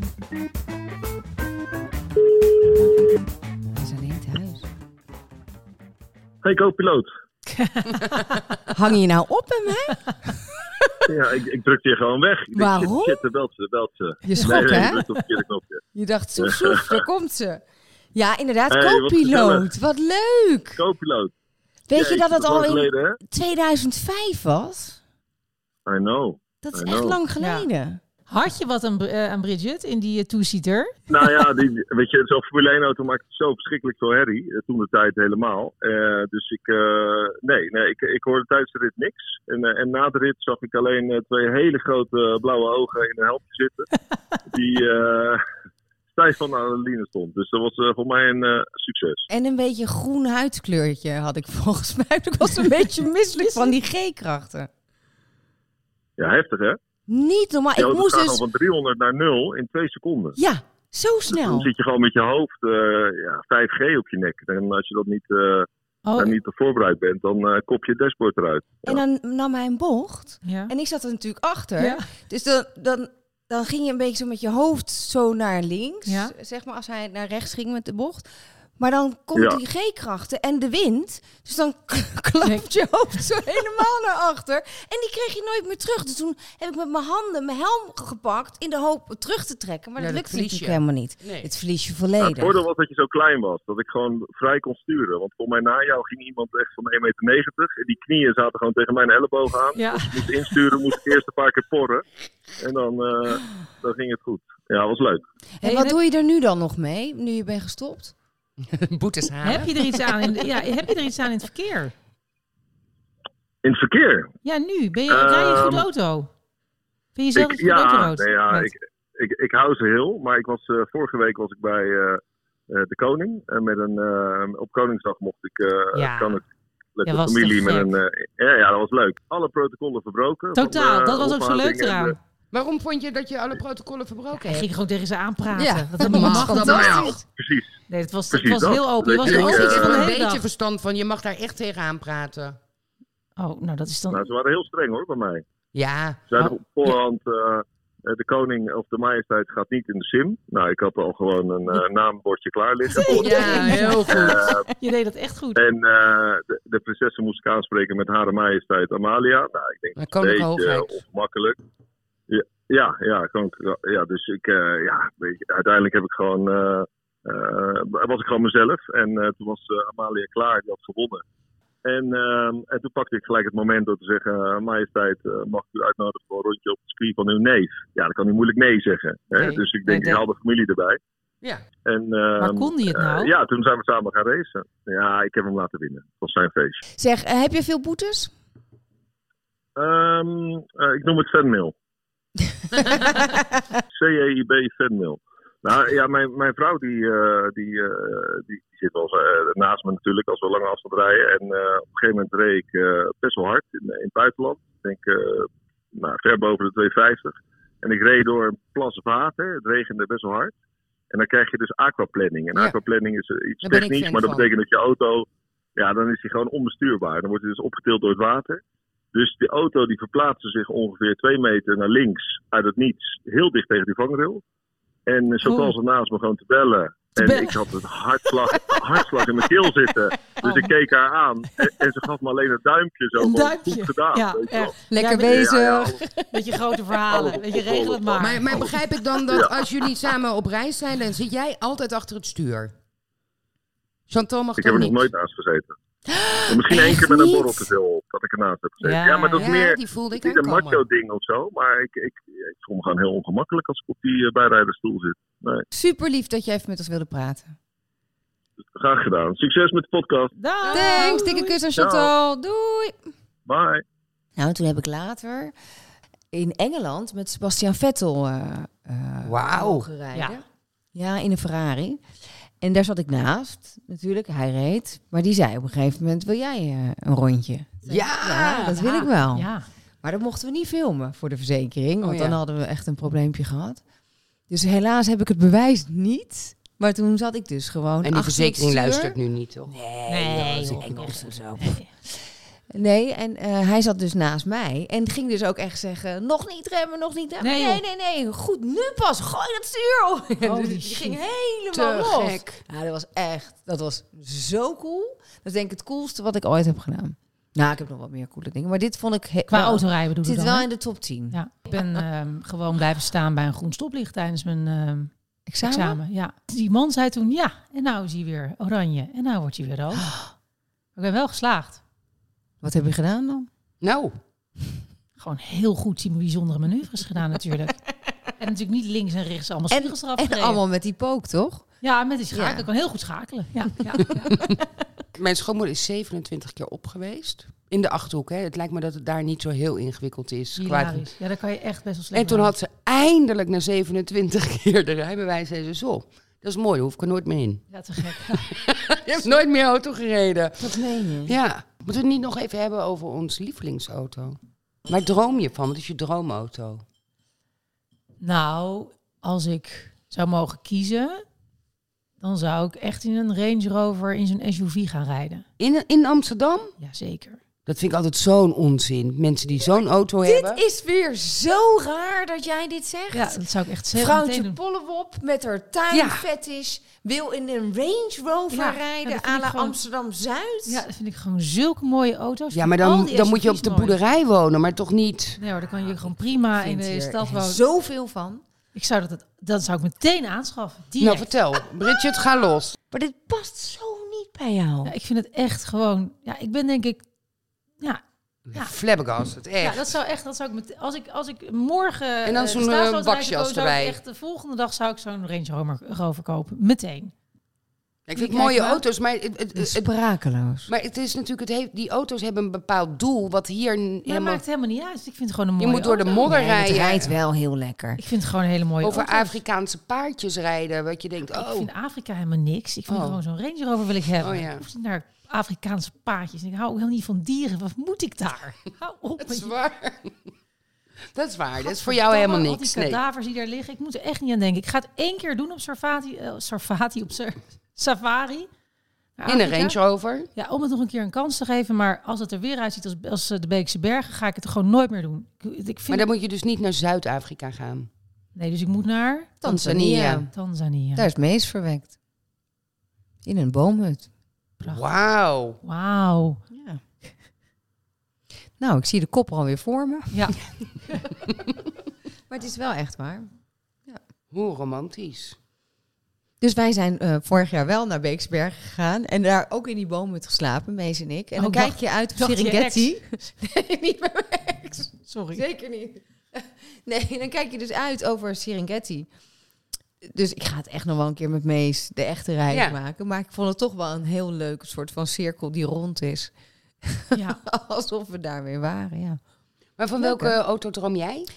Hij is alleen thuis. Hey, co-piloot. Hang je nou op hem, hè? Ja, ik, ik drukte je gewoon weg. Ik denk, Waarom? Shit, shit, daar belt ze, daar belt ze. Je Nee, schrok, nee, ik hè? drukte op het verkeerde knopje. <laughs> Je dacht, soef, soef, daar komt ze. Ja, inderdaad, Hey, wat co-piloot. gezellig. Wat leuk. Co-piloot. Weet je Jeetje, dat het al lang in geleden, 2005 was? hè? I know. Dat is I echt know. lang geleden. Had je wat aan, Br- eh, aan Bridget in die eh, two-seater? Nou ja, die, weet je, zo'n Formule 1 auto maakt zo verschrikkelijk veel herrie. eh, Toen de tijd helemaal. Eh, dus ik, eh, nee, nee ik, ik hoorde tijdens de rit niks. En, eh, en na de rit zag ik alleen eh, twee hele grote eh, blauwe ogen in een helmpje <laughs> zitten. die eh stijf van de adrenaline stond. Dus dat was eh, voor mij een eh, succes. En een beetje groen huidkleurtje had ik <laughs> volgens mij. Ik was een beetje misselijk van die G-krachten. Ja, heftig hè? Niet normaal. Ja, Ik dat moest gaat al dus... van 300 naar 0 in 2 seconden. Ja, zo Dus dan snel. zit je gewoon met je hoofd eh, ja, 5G op je nek. En als je dat niet eh, Oh, daar niet op voorbereid bent, dan eh, kop je het dashboard eruit. En dan nam hij een bocht. ja. En ik zat er natuurlijk achter. Ja. Dus dan, dan, dan ging je een beetje zo met je hoofd zo naar links. Ja. Zeg maar als hij naar rechts ging met de bocht. Maar dan komt Ja. die G-krachten en de wind. Dus dan <laughs> klapt je hoofd zo helemaal naar achter. En die kreeg je nooit meer terug. Dus toen heb ik met mijn handen mijn helm gepakt in de hoop het terug te trekken. Maar Ja, dat dat lukte natuurlijk verlies je. helemaal niet. Nee. Het verlies je Ja, volledig. het voordeel was dat je zo klein was, dat ik gewoon vrij kon sturen. Want voor mij na jou ging iemand echt van 1,90 meter. En die knieën zaten gewoon tegen mijn elleboog aan. Ja. Ik moest insturen, moest ik eerst een paar keer porren. En dan, <gasps> eh, dan ging het goed. Ja, was leuk. En Hey, wat en doe je er nu dan nog mee, nu je bent gestopt? Boetes halen. Heb je er iets aan? In, de- ja, heb je er iets aan in het verkeer? In het verkeer. Ja, nu. Ben je, rij je goed Ehm, auto? Vind je zelf ik, een goed ja, autorood? nee, ja ik, ik, ik hou ze heel. Maar ik was, eh, vorige week was ik bij eh, eh, de Koning. En met een, eh, op Koningsdag mocht ik, eh Ja. kan het met Ja, de was familie. toch Met gek? een, eh, ja, ja, dat was leuk. Alle protocollen verbroken. van, Totaal, eh, dat was ook zo leuk ophaalting en, eh, eraan. Waarom vond je dat je alle protocollen verbroken Hij hebt? ging gewoon tegen ze aanpraten. Ja, dat dat mag, mag, dat dat nou ja, Fantastisch. precies. Nee, het was, het Precies was dat. heel open. Je was Weet de je, Oh, ik oogjes eh, van heb de er een hele beetje dag. verstand van. Je mag daar echt tegenaan praten. Oh, nou dat is Nou, dan... ze waren heel streng hoor bij mij. Ja. Ze Oh. zeiden op voorhand, eh, eh, de koning of de majesteit gaat niet in de sim. Nou, ik had al gewoon een eh, naambordje klaar liggen. voor de- Ja, heel goed. Je deed dat echt goed. En eh, de, de prinses moest ik aanspreken met haar majesteit Amalia. Nou, ik denk Maar een koninklijke beetje eh, hoogheid. ongemakkelijk. Ja, ja, ja, koninklijke- ja dus ik, eh, ja, weet je, uiteindelijk heb ik gewoon, eh, eh, was ik gewoon mezelf. En eh, toen was eh, Amalia klaar, die had gewonnen. En, ehm, en toen pakte ik gelijk het moment door te zeggen, eh, majesteit, eh, mag ik u uitnodigen voor een rondje op het circuit van uw neef? Ja, dan kan hij moeilijk nee zeggen. Hè? Nee, dus ik denk, nee, ik haal de familie erbij. Ja. En, Maar ehm, kon hij het eh, nou? ja, toen zijn we samen gaan racen. Ja, ik heb hem laten winnen. Dat was zijn feest. Zeg, eh, heb je veel boetes? Ehm, eh, ik noem <laughs> het E fanmail. CEIB fanmail. Nou ja, mijn, mijn vrouw die, eh, die, eh, die, die zit wel eh, naast me natuurlijk als we lange afstand rijden. En eh, op een gegeven moment reed ik eh, best wel hard in, in het buitenland. Ik denk eh, nou, ver boven de 250. En ik reed door een plas water. Het regende best wel hard. En dan krijg je dus aquaplanning. En Ja. aquaplanning is eh, iets Daar ben ik technisch, fan maar dat van. betekent dat je auto... Ja, dan is die gewoon onbestuurbaar. Dan wordt hij dus opgetild door het water. Dus die auto die verplaatste zich ongeveer twee meter naar links uit het niets, heel dicht tegen die vangrail. En eh, zo Oh. kwam ze naast me gewoon te bellen. En bellen. ik had het hartslag, <laughs> hartslag in mijn keel zitten. Dus ik keek haar aan. En, en ze gaf me alleen een duimpje zo. Een van, duimpje. Goed gedaan. Ja, weet je wel. Oh, echt. Lekker Ja, bezig. Ja, ja, Met je grote verhalen. Weet je, regel het maar. Maar, Oh. maar begrijp ik dan dat als jullie samen op reis zijn, dan zit jij altijd achter het stuur? Chantal mag ik heb dan er nog niet. nooit naast gezeten. En misschien één Echt keer met een niet? borrel te veel op dat ik ernaast heb gezeten. Ja, Ja, maar dat is ja, meer die voelde ik niet een aankomen. macho ding of zo. Maar ik, ik, ik voel me gewoon heel ongemakkelijk als ik op die eh, bijrijderstoel zit. Nee, Super lief dat je even met ons wilde praten. graag gedaan. Succes met de podcast. Daag. Thanks, dikke kus aan Chantal. Doei. Bye. Nou, en toen heb ik later in Engeland met Sebastian Vettel eh eh, Wauw. mogen rijden. Ja. in een Ferrari. En daar zat ik naast, natuurlijk. Hij reed. Maar die zei op een gegeven moment, wil jij eh, een rondje? Ja! Ja, dat wil ik wel. Ja. Maar dat mochten we niet filmen voor de verzekering. Want Oh, ja. dan hadden we echt een probleempje gehad. Dus helaas heb ik het bewijs niet. Maar toen zat ik dus gewoon En die achter het verzekering stuur. luistert nu niet, toch? Nee, Nee, nee joh, Engels en zo. <laughs> Nee. Nee, en eh, hij zat dus naast mij en ging dus ook echt zeggen: nog niet remmen, nog niet remmen. Nee, Nee, nee, nee, goed, nu pas, gooi dat stuur op. <laughs> Holy dus die shit. ging helemaal Te los. gek. Ja, dat was echt, dat was zo cool. Dat is denk ik het coolste wat ik ooit heb gedaan. Nou, ik heb nog wat meer coole dingen, maar dit vond ik he- Qua wel- autorijden Het bedoel ik dan. zit wel hè? in de top 10. Ja. Ik ben ehm, gewoon blijven staan bij een groen stoplicht tijdens mijn ehm, Examen? examen. Ja. Die man zei toen ja. En nou is hij weer oranje. En nou wordt hij weer rood. Ah. Ik ben wel geslaagd. Wat heb je gedaan dan? Nou, Gewoon heel goed die bijzondere manoeuvres gedaan <laughs> natuurlijk. En natuurlijk niet links en rechts allemaal En, spiegels eraf en gereden. allemaal met die pook, toch? Ja, met die schakelen. Ja. Ik kan heel goed schakelen. Ja, <laughs> ja, mijn schoonmoeder is 27 keer op geweest. In de Achterhoek, hè. Het lijkt me dat het daar niet zo heel ingewikkeld is. Qua... hilarisch. ja, daar kan je echt best wel slecht En toen aan. had ze eindelijk na 27 <laughs> keer de rijbewijs en ze zo. Dat is mooi, daar hoef ik er nooit meer in. <laughs> Ja, te gek. Je hebt nooit meer auto gereden. Dat meen je. Ja. Moeten we het niet nog even hebben over onze lievelingsauto? Waar droom je van? Wat is je droomauto? Nou, als ik zou mogen kiezen, dan Dan zou ik echt in een Range Rover in zo'n SUV gaan rijden. In, in Amsterdam? Jazeker. Dat vind ik altijd zo'n onzin. Mensen die zo'n auto hebben. Dit is weer zo raar dat jij dit zegt. Ja, dat zou ik echt zeker meteen Vrouwtje doen. Pollewop met haar Ja. tuinfetish wil in een Range Rover Ja, ja, dat rijden vind à ik la gewoon- Amsterdam-Zuid. Ja, dat vind ik gewoon zulke mooie auto's. Ja, maar Al dan, die dan moet je op SUV's de mooi. boerderij wonen, maar toch niet. Nee hoor, dan kan je gewoon prima in vind de hier stad wonen. Zoveel van. Ik zou dat, dat zou ik meteen aanschaffen. Nou, Direct. vertel. Bridget, ga los. Maar dit past zo niet bij jou. Ja, ik vind het echt gewoon... Ja, ik ben denk ik... Ja, Ja. Flabbergast, het echt. ja dat zou echt... Dat zou ik met, als, ik, als ik morgen... En dan eh, zo'n, de staatsloterij eh, bakjas zou kopen, zou ik erbij. Echt, de volgende dag zou ik zo'n Range Rover, Rover kopen. Meteen. ik vind Kijk mooie maar. auto's, maar, het, het- het- Sprakeloos. maar het is natuurlijk, het heeft, die auto's hebben een bepaald doel, wat hier n- Maar helemaal... maakt helemaal niet uit. Ik vind het gewoon een Je mooie moet door de auto. modder Nee, het rijden, rijdt wel heel lekker. Ik vind het gewoon een hele mooie over auto's. Afrikaanse paardjes rijden, wat je denkt, Ik oh, vind Afrika helemaal niks. Ik vind Oh. gewoon zo'n Range Rover wil ik hebben. Oh ja. Ik hoef niet naar Afrikaanse paadjes. Ik hou helemaal niet van dieren. Wat moet ik <laughs> daar? Hou op. dat is waar. <laughs> dat is waar, dat is voor jou helemaal niks. Al die Nee. kadavers die daar liggen. Ik moet er echt niet aan denken. Ik ga het één keer doen op Sarfati. eh, Sarfati op Sar- <laughs> Safari. naar In een Afrika. Range Rover. Ja, om het nog een keer een kans te geven. Maar als het er weer uitziet als, als eh, de Beekse Bergen, ga ik het gewoon nooit meer doen. Ik, ik Maar vind dan moet je dus niet naar Zuid-Afrika gaan. Nee, dus ik moet naar Tanzania. Tanzania. Daar is mees verwekt. In een boomhut. Prachtig. Wauw. <laughs> Wauw. <laughs> Nou, ik zie de kop alweer voor me. <laughs> Ja. Maar het is wel echt waar. Hoe romantisch. Dus wij zijn eh, vorig jaar wel naar Beeksberg gegaan. En daar ook in die boomhut geslapen, Mees en ik. En Oh, dan ik dacht- kijk je uit op dacht je Serengeti. <laughs> nee, niet bij mijn ex. Sorry. Zeker niet. <laughs> Nee, dan kijk je dus uit over Serengeti. Dus ik ga het echt nog wel een keer met Mees de echte reis Ja. maken. Maar ik vond het toch wel een heel leuk soort van cirkel die rond is. <laughs> Ja. Alsof we daar weer waren, ja. Maar van Leuk, welke auto droom jij?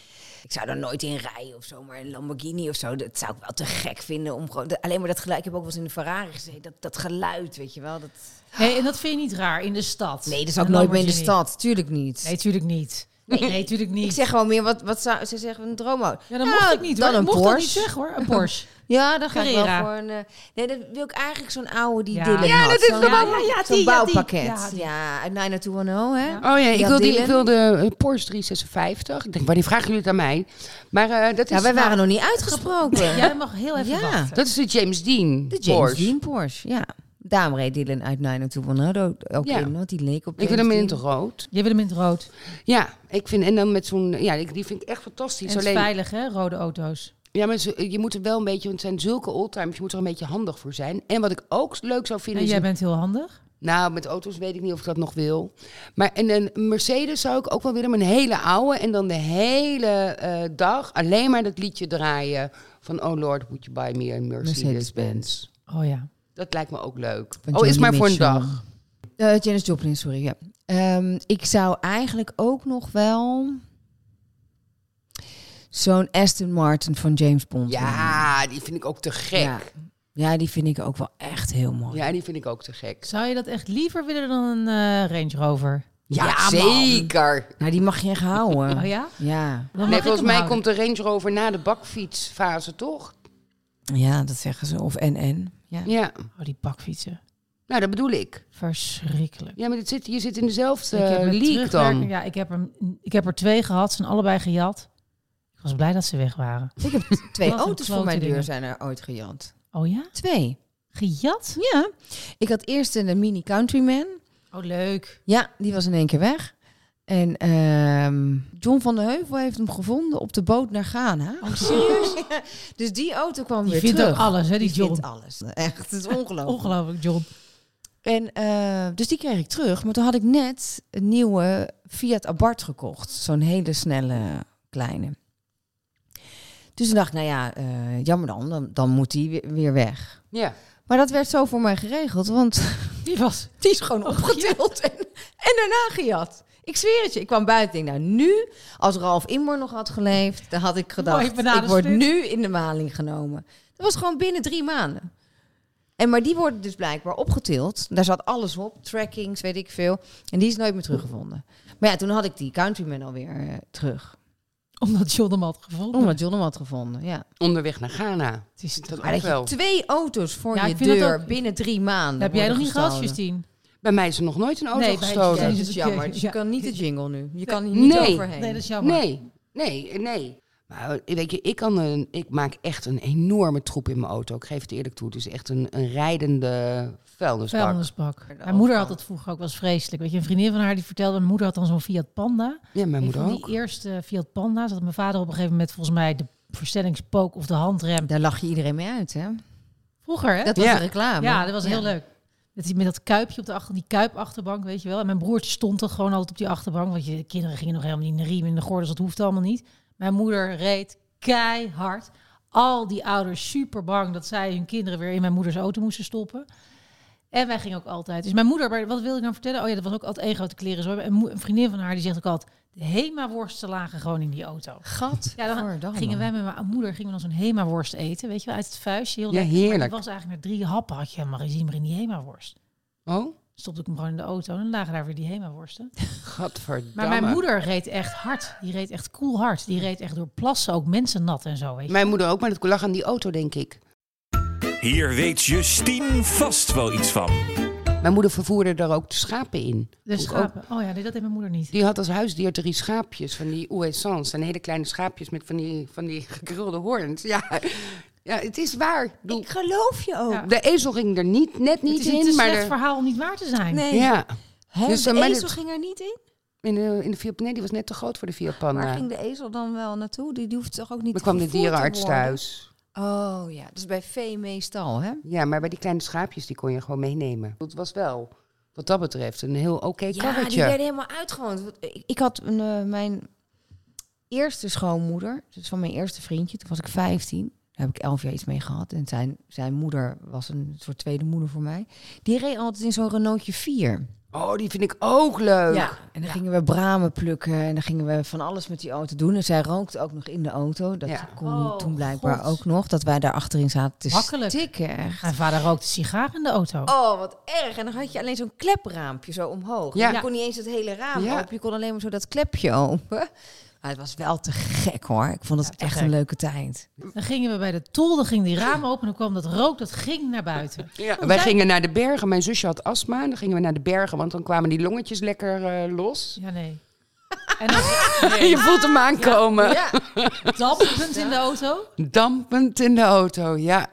Ik zou daar nooit in rijden of zo, maar een Lamborghini of zo, dat zou ik wel te gek vinden om gewoon... Alleen maar dat geluid, ik heb ook wel eens in de Ferrari gezeten, dat, dat geluid, weet je wel. Dat... Nee, en dat vind je niet raar in de stad. Nee, dat zou ik Een nooit meer in de Lamborghini. stad, tuurlijk niet. Nee, tuurlijk niet. Nee, tuurlijk niet. ik zeg gewoon meer, wat, wat zou... Ze zeggen een droomauto. Nou, ja, dan mocht ik niet dan hoor. een ik mocht dat niet Porsche. zeggen hoor. Een <laughs> Porsche. Ja, dan ga ik wel Carrera. voor een... eh, nee, dat wil ik eigenlijk zo'n oude die Ja. Dylan Ja, had. dat is Zo'n- de bouw- ja, ja, Zo'n die, ja, die. bouwpakket. Ja, die. Ja, uit 90210, hè? Oh ja, ik Ja, wilde, ik Dylan. wilde een Porsche 356. Ik denk, waar die vragen jullie het aan mij? Maar eh, dat is... Ja, wij waren nou- nog niet uitgesproken. Jij mag heel even Ja. wachten. Dat is de James Dean De James Porsche. Dean Porsche, ja. Daarom reed Dylan uit 90210 ook Ja. in, want die leek op Ik wil James hem in Dean. het rood. Je wil hem in het rood. Ja, ik vind... En dan met zo'n... Ja, ik- die vind ik echt En fantastisch. het is Alleen, veilig hè, rode auto's. ja, maar zo- je moet er wel een beetje... Want het zijn zulke oldtimers. Je moet er een beetje handig voor zijn. En wat ik ook leuk zou vinden... En is jij een- bent heel handig. Nou, met auto's weet ik niet of ik dat nog wil. Maar en een Mercedes zou ik ook wel willen. maar Een hele oude. En dan de hele eh, dag alleen maar dat liedje draaien. Van Oh Lord, would you buy me a Mercedes-Benz. Mercedes-Benz. Oh ja. Dat lijkt me ook leuk. Van oh, is Joni maar voor een Mitchell. dag. Eh Janis Joplin, sorry. Ja. Ehm, ik zou eigenlijk ook nog wel zo'n Aston Martin van James Bond. willen. Ja, die vind ik ook te gek. ja. Ja, Ja, die vind ik ook wel echt heel mooi. die vind ik ook te gek. Zou je dat echt liever willen dan een eh, Range Rover? Ja, man. zeker. Nou, die mag je echt houden. <laughs> Oh ja? ja. Dan mag Nee, ik volgens hem mij houden. komt de Range Rover na de bakfietsfase, toch? Ja, dat zeggen ze. Of NN. Ja. Ja, Oh, die bakfietsen. nou dat bedoel ik. Verschrikkelijk. Ja, maar dit zit, je zit in dezelfde Ik heb eh, met league dan. terugwerking- Ja, ik heb, hem, ik heb er twee gehad. Ze zijn allebei gejat. Ik was blij dat ze weg waren. Ik heb t- twee Wat een auto's voor klote mijn deur dingen. zijn er ooit gejat. Oh ja? Twee. Gejat? Ja. Ik had eerst een Mini Countryman. Oh, leuk. Ja, die was in één keer weg. En ehm, John van de Heuvel heeft hem gevonden op de boot naar Ghana. Oh, serieus? <laughs> Dus die auto kwam Die weer vindt terug. ook alles, hè, die John. vindt alles. Echt, het is ongelooflijk. Ongelooflijk, John. en, eh, dus die kreeg ik terug. Maar toen had ik net een nieuwe Fiat Abarth gekocht. Zo'n hele snelle kleine. Dus toen dacht ik, nou ja, eh, jammer dan, dan, dan moet die weer- weer weg. Ja. Maar dat werd zo voor mij geregeld, want Die was... Die is Oh, gewoon opgetild en, en daarna gejat. Ik zweer het je, ik kwam buiten. Ik denk, nou nu, als Ralf Inmor nog had geleefd, dan had ik Mooie gedacht, ik bananensplit. word nu in de maling genomen. Dat was gewoon binnen drie maanden. En maar die worden dus blijkbaar opgetild. Daar zat alles op, trackings, weet ik veel. En die is nooit meer teruggevonden. Maar ja, toen had ik die countryman alweer eh, terug. Omdat John hem had Oh, gevonden. Omdat John hem had gevonden, ja. Onderweg naar Ghana. Het is- Dat Maar ook dat je wel. twee auto's voor Oh. Ja, je ik vind dat deur ook- binnen drie maanden heb jij nog worden niet gehad, gestolen. Justine? Bij mij is er nog nooit een auto Nee, bij- Ja, gestolen. dat is jammer. Dus Ja. je kan niet de jingle nu. Je kan hier niet Nee. overheen. Nee, dat is jammer. Nee, nee, nee. Maar eh, weet je, ik, kan een, ik maak echt een enorme troep in mijn auto. Ik geef het eerlijk toe. Het is echt een, een rijdende vuilnisbak. Vuilnisbak. Mijn moeder had dat vroeger ook, was vreselijk. Weet je, een vriendin van haar die vertelde, mijn moeder had dan zo'n Fiat Panda. Ja, mijn Een moeder van ook. die eerste Fiat Panda's had mijn vader op een gegeven moment volgens mij de verstellingspook of de handrem. Daar lach je iedereen mee uit, hè? Vroeger, hè? Dat was Ja. een reclame. ja, dat was heel leuk. Met, die, met dat kuipje op de achter, die kuipachterbank, weet je wel. En mijn broertje stond er gewoon altijd op die achterbank. Want je de kinderen gingen nog helemaal niet in de riem in de gordels. Dat hoeft allemaal niet. Mijn moeder reed keihard. Al die ouders super bang dat zij hun kinderen weer in mijn moeders auto moesten stoppen. En wij gingen ook altijd. Dus mijn moeder, maar wat wilde ik nou vertellen? Oh ja, dat was ook altijd één grote kleren. Zo. Een, moe- een vriendin van haar die zegt ook altijd: de Hema-worsten lagen gewoon in die auto. Gat. Ja, dan gingen wij met mijn moeder gingen we dan zo'n Hema-worst eten. Weet je wel, uit het vuistje. Heel Ja, lekker. Maar die heerlijk. was eigenlijk na drie happen had je hem maar gezien, maar in die Hema-worst. Oh, Stopte ik hem gewoon in de auto en dan lagen daar weer die Hema-worsten. gadverdamme. Maar mijn moeder reed echt hard. Die reed echt cool hard. Die reed echt door plassen, ook mensen nat en zo. Weet je. Mijn moeder ook, maar dat lag aan die auto, denk ik. Hier weet Justine vast wel iets van. Mijn moeder vervoerde daar ook de schapen in. De Vond ik schapen. Oh ja, nee, dat heeft mijn moeder niet. Die had als huisdier drie schaapjes van die oesans. En hele kleine schaapjes met van die, van die gekrulde hoorns. Ja. ja, het is waar. Ik bedoel, Ik geloof je ook. Ja. De ezel ging er niet, net niet het is een te in. Maar slecht er- verhaal om niet waar te zijn. Nee. ja, Hè, Dus de dan ben ezel het- ging er niet in? in de, in de Fiat- nee, die was net te groot voor de Fiat Waar Panda. ging de ezel dan wel naartoe? Die, die hoeft toch ook niet Dan kwam de gevoerd te dierenarts worden? thuis. Oh ja, dat is bij vee meestal, hè? Ja, maar bij die kleine schaapjes die kon je gewoon meenemen. Dat was wel, wat dat betreft, een heel oké Ja, die karretje. werden helemaal uitgewoond. Want Ik, ik had een, eh, mijn eerste schoonmoeder, dus van mijn eerste vriendje, toen was ik 15. Daar heb ik elf jaar iets mee gehad. En zijn, zijn moeder was een soort tweede moeder voor mij. Die reed altijd in zo'n Renaultje 4. Oh, die vind ik ook leuk. Ja, en dan gingen we bramen plukken en dan gingen we van alles met die auto doen. En zij rookte ook nog in de auto. Dat Ja. kon Oh, toen blijkbaar God. ook nog, dat wij daar achterin zaten te Makkelijk. stikken. echt. Mijn vader rookte sigaar in de auto. Oh, wat erg. En dan had je alleen zo'n klepraampje zo omhoog. Ja. Je kon niet eens het hele raam Ja. open. Je kon alleen maar zo dat klepje open. Maar het was wel te gek hoor. Ik vond het te echt gek. een leuke tijd. Dan gingen we bij de tol, dan ging die raam open, dan kwam dat rook, dat ging naar buiten. Ja, wij gingen naar de bergen. Mijn zusje had astma. En dan gingen we naar de bergen, want dan kwamen die longetjes lekker eh, los. Ja, nee. En dan <laughs> Je voelt hem aankomen. dampend in de auto. Dampend in de auto, ja.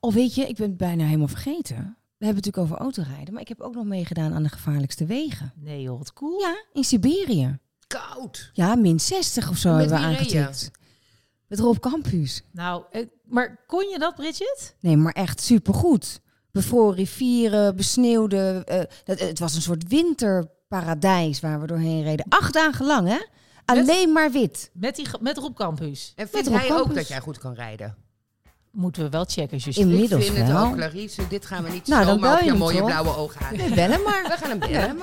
Of Nou, weet je, ik ben het bijna helemaal vergeten. We hebben het natuurlijk over autorijden. Maar ik heb ook nog meegedaan aan de gevaarlijkste wegen. Nee joh, wat cool. Ja, in Siberië. Koud. Ja, min 60 of zo Met hebben we wie reed je? aangetikt. Met Rob Campus. Nou, eh, maar kon je dat, Bridget? Nee, maar echt supergoed. Bevroren rivieren, besneeuwde. eh, dat, het was een soort winterparadijs waar we doorheen reden. Acht dagen lang, hè? Alleen maar wit. Met, die, ge- met Rob Campus. En Met vindt Rob hij ook Campus. dat jij goed kan rijden? Moeten we wel checken, Justine. Inmiddels Dus Ik vind wel. het ook, Clarice. Dit gaan we niet Nou, dan zomaar bel op je je hem mooie toch? blauwe ogen aan. Nee, bellen maar. We gaan hem bellen.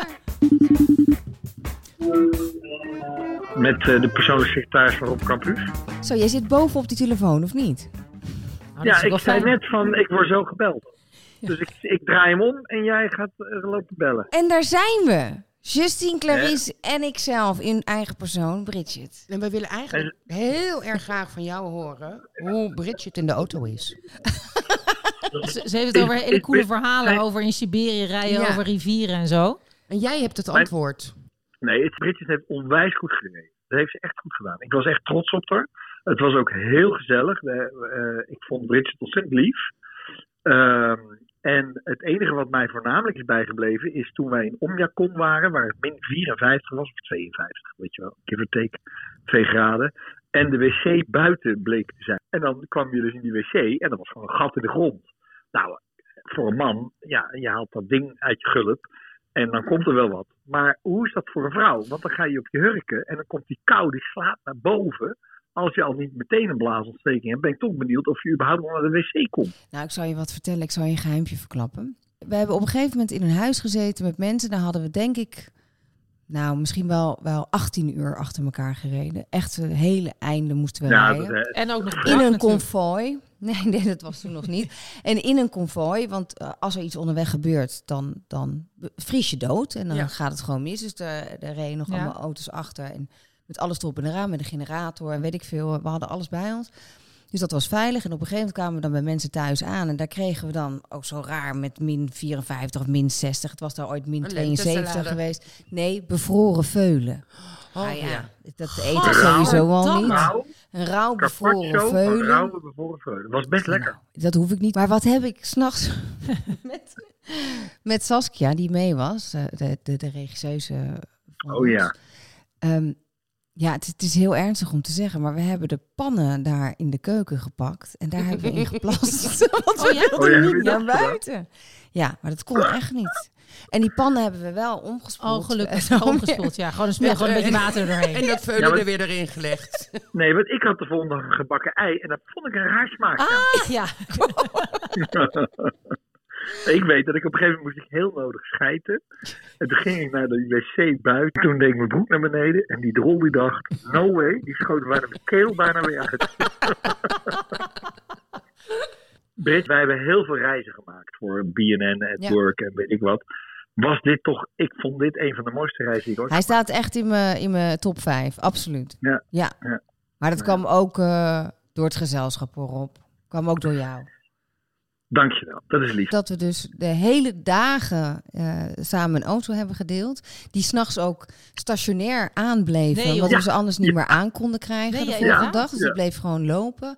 Met eh, de persoonlijke secretaris van Rob Campus. Zo, jij zit bovenop die telefoon, of niet? Nou, dat is Ja, ook wel ik zei fijn. net van, ik word zo gebeld. Dus ik, ik draai hem om en jij gaat eh, lopen bellen. En daar zijn we. Justine, Clarice en ikzelf in eigen persoon, Bridget. En we willen eigenlijk heel erg graag van jou horen hoe Bridget in de auto is. Ze, ze heeft het over hele coole verhalen over in Siberië rijden, Ja. over rivieren en zo. En jij hebt het antwoord. Nee, het, Bridget heeft onwijs goed gereden. Dat heeft ze echt goed gedaan. Ik was echt trots op haar. Het was ook heel gezellig. We- eh, ik vond Bridget ontzettend lief. Ehm, en het enige wat mij voornamelijk is bijgebleven is toen wij in Omjakon waren, waar het min 54 was, of 52, weet je wel, give or take, 2 graden. En de wc buiten bleek te zijn. En dan kwam je dus in die wc en dat was gewoon een gat in de grond. Nou, voor een man, ja, je haalt dat ding uit je gulp. En dan komt er wel wat. Maar hoe is dat voor een vrouw? Want dan ga je op je hurken en dan komt die kou, die slaat naar boven. Als je al niet meteen een blaasontsteking hebt, ben ik toch benieuwd of je überhaupt nog naar de wc komt. Nou, ik zal je wat vertellen. Ik zal je een geheimpje verklappen. We hebben op een gegeven moment in een huis gezeten met mensen. Daar hadden we denk ik, nou, misschien wel, wel 18 uur achter elkaar gereden. Echt een hele einde moesten we Ja, rijden. dat, eh, En ook nog brak In een natuurlijk. konvooi. <laughs> Nee, nee, dat was toen nog niet. En in een konvooi, want eh, als er iets onderweg gebeurt, dan, dan vries je dood. En dan gaat het gewoon mis. Dus er, er reden nog Ja. allemaal auto's achter. En Met alles erop en eraan, met een generator en weet ik veel. We hadden alles bij ons. Dus dat was veilig. En op een gegeven moment kwamen we dan bij mensen thuis aan. En daar kregen we dan ook zo raar met min 54 of min 60. Het was daar ooit min Een 72 lentesalade. geweest. Nee, bevroren veulen. Oh, nou ja, ja. Nou, dat eten we sowieso al Gadverdamme. niet. Rauw, Een rauw bevroren carpaccio van veulen. rauwe bevroren veulen. Was best lekker. Nou, dat hoef ik niet. Maar wat heb ik s'nachts <laughs> met, met Saskia, die mee was, eh, de, de, de regisseuse. van Oh ja. ons. Ehm, ja, het, het is heel ernstig om te zeggen, maar we hebben de pannen daar in de keuken gepakt. En daar hebben we in <laughs> geplast. <laughs> Want we Oh ja? Oh ja, wilden heb je niet dat naar gedaan? buiten. Ja, maar dat kon echt niet. En die pannen hebben we wel omgespoeld. Oh, gelukkig. <laughs> Oh, ja. Schoongespoeld, ja. Gewoon een, smul, Ja, gewoon een beetje en- water En erdoorheen. dat veulen Ja, maar- er weer erin gelegd. <laughs> Nee, want ik had de volgende dag een gebakken ei en dat vond ik een raar smaak. Ah, ja. <laughs> Ik weet dat ik op een gegeven moment moest ik heel nodig schijten. En toen ging ik naar de wc buiten. Toen deed ik mijn broek naar beneden. En die drol die dacht, no way. Die schoot bijna mijn keel bijna weer uit. Britt, wij hebben heel veel reizen gemaakt voor BNN at Ja. work en weet ik wat. Was dit toch, ik vond dit een van de mooiste reizen die ik ooit Hij staat echt in mijn in mijn top 5, absoluut. Ja. ja. Ja. Maar dat kwam ook eh, door het gezelschap, hoor, Rob. Kwam ook door jou. Dankjewel, dat is lief. Dat we dus de hele dagen eh, samen een auto hebben gedeeld. Die s'nachts ook stationair aanbleven. Nee, joh. omdat we Ja. ze anders niet meer aan konden krijgen Nee, de ja, volgende inderdaad. dag. Dus Ja. het bleef gewoon lopen.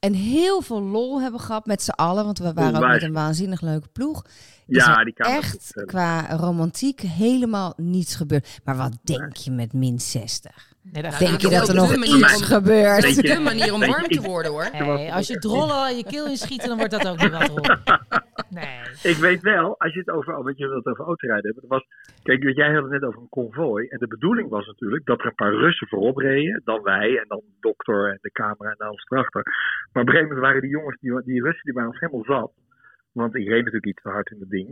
En heel veel lol hebben gehad met z'n allen. Want we waren ook Onwijs. met een waanzinnig leuke ploeg. Is Ja, er die kamer is eh, echt gezellig. qua romantiek helemaal niets gebeurd. Maar wat denk je met min 60? Nee, daar Denk gaat je het dat er ook nog niet. iets gebeurt? Dat is Weet je- de manier om weet je, warm te ik- worden hoor. Nee, als je drollen al je keel inschiet, dan wordt dat ook niet wat rond. Nee. Ik weet wel, als je het over, oh, weet je, we het over autorijden hebben. Dat was, kijk, want jij had het net over een konvooi. En de bedoeling was natuurlijk dat er een paar Russen voorop reden. Dan wij en dan de dokter en de camera en dan ons erachter. Maar op een gegeven moment waren die jongens, die, die Russen, die waren ons helemaal zat. Want ik reed natuurlijk iets te hard in dat ding.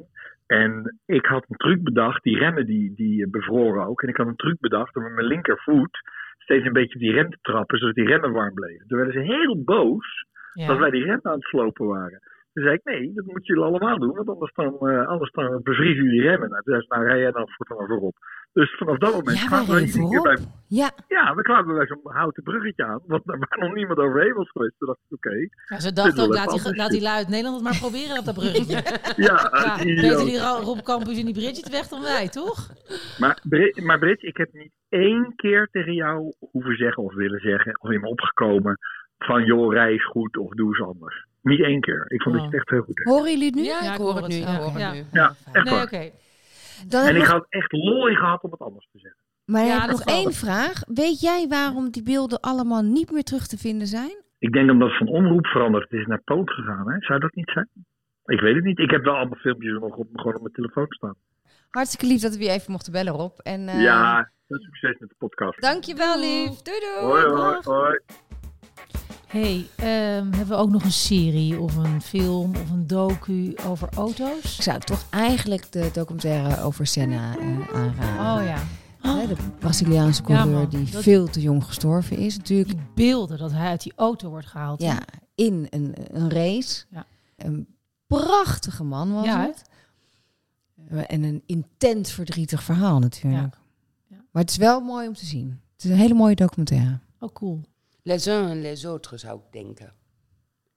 En ik had een truc bedacht, die remmen die, die eh, bevroren ook. En ik had een truc bedacht om met mijn linkervoet steeds een beetje op die rem te trappen, zodat die remmen warm bleven. Toen werden ze heel boos dat Ja. wij die rem aan het slopen waren. Toen zei ik, nee, dat moeten jullie allemaal doen, want anders dan, eh, anders dan bevriezen jullie remmen. Nou, toen zei ze, nou rij jij dan voortaan maar voorop. Dus vanaf dat moment Ja, wij kwamen we reden iedere keer voorop. bij, Ja, ja, we kwamen bij zo'n houten bruggetje aan, want daar waar nog niemand overheen was geweest. Toen dacht <laughs> ik, oké, Ja, ze dacht ook, Dit laat wil die, ik laat die lui uit Nederland het maar proberen op dat bruggetje. ja, Ja, eh, idioot. beter die Ro- Rob Campus en die Bridget weg dan wij, toch? Maar, Brit, maar Brit, ik heb niet één keer tegen jou hoeven zeggen of willen zeggen, of in me opgekomen, van joh, rij is goed of doe eens anders. Niet één keer. Ik vond Oh. dat je het echt heel goed deed. horen jullie het nu? Ja, ik hoor het nu. Ik Ja. hoor Ja. het nu. Ja, echt Nee, oké. waar. Dan heb En ik nog- had echt lol in gehad om het anders te zeggen. Maar Ja, ik heb dat nog wel. één vraag. Weet jij waarom die beelden allemaal niet meer terug te vinden zijn? Ik denk omdat het van omroep veranderd is naar Poont gegaan. Hè? Zou dat niet zijn? Ik weet het niet. Ik heb wel allemaal filmpjes nog op, gewoon op mijn telefoon staan. Hartstikke lief dat we je even mochten bellen, Rob. En eh, Ja, veel succes met de podcast. dankjewel, lief. Doei doei. Hoi, hoi, Dag. hoi. hey, ehm, hebben we ook nog een serie of een film of een docu over auto's? Ik zou toch eigenlijk de documentaire over Senna eh, aanraden. Oh ja. Hè, De Braziliaanse Ja, coureur man. die Dat- veel te jong gestorven is. Natuurlijk Die beelden dat hij uit die auto wordt gehaald. ja, in een, een race. Ja. Een prachtige man was Ja, hè? het. En een intens verdrietig verhaal natuurlijk. Ja. Maar het is wel mooi om te zien. Het is een hele mooie documentaire. Oh, cool. Les uns en les autres zou ik denken.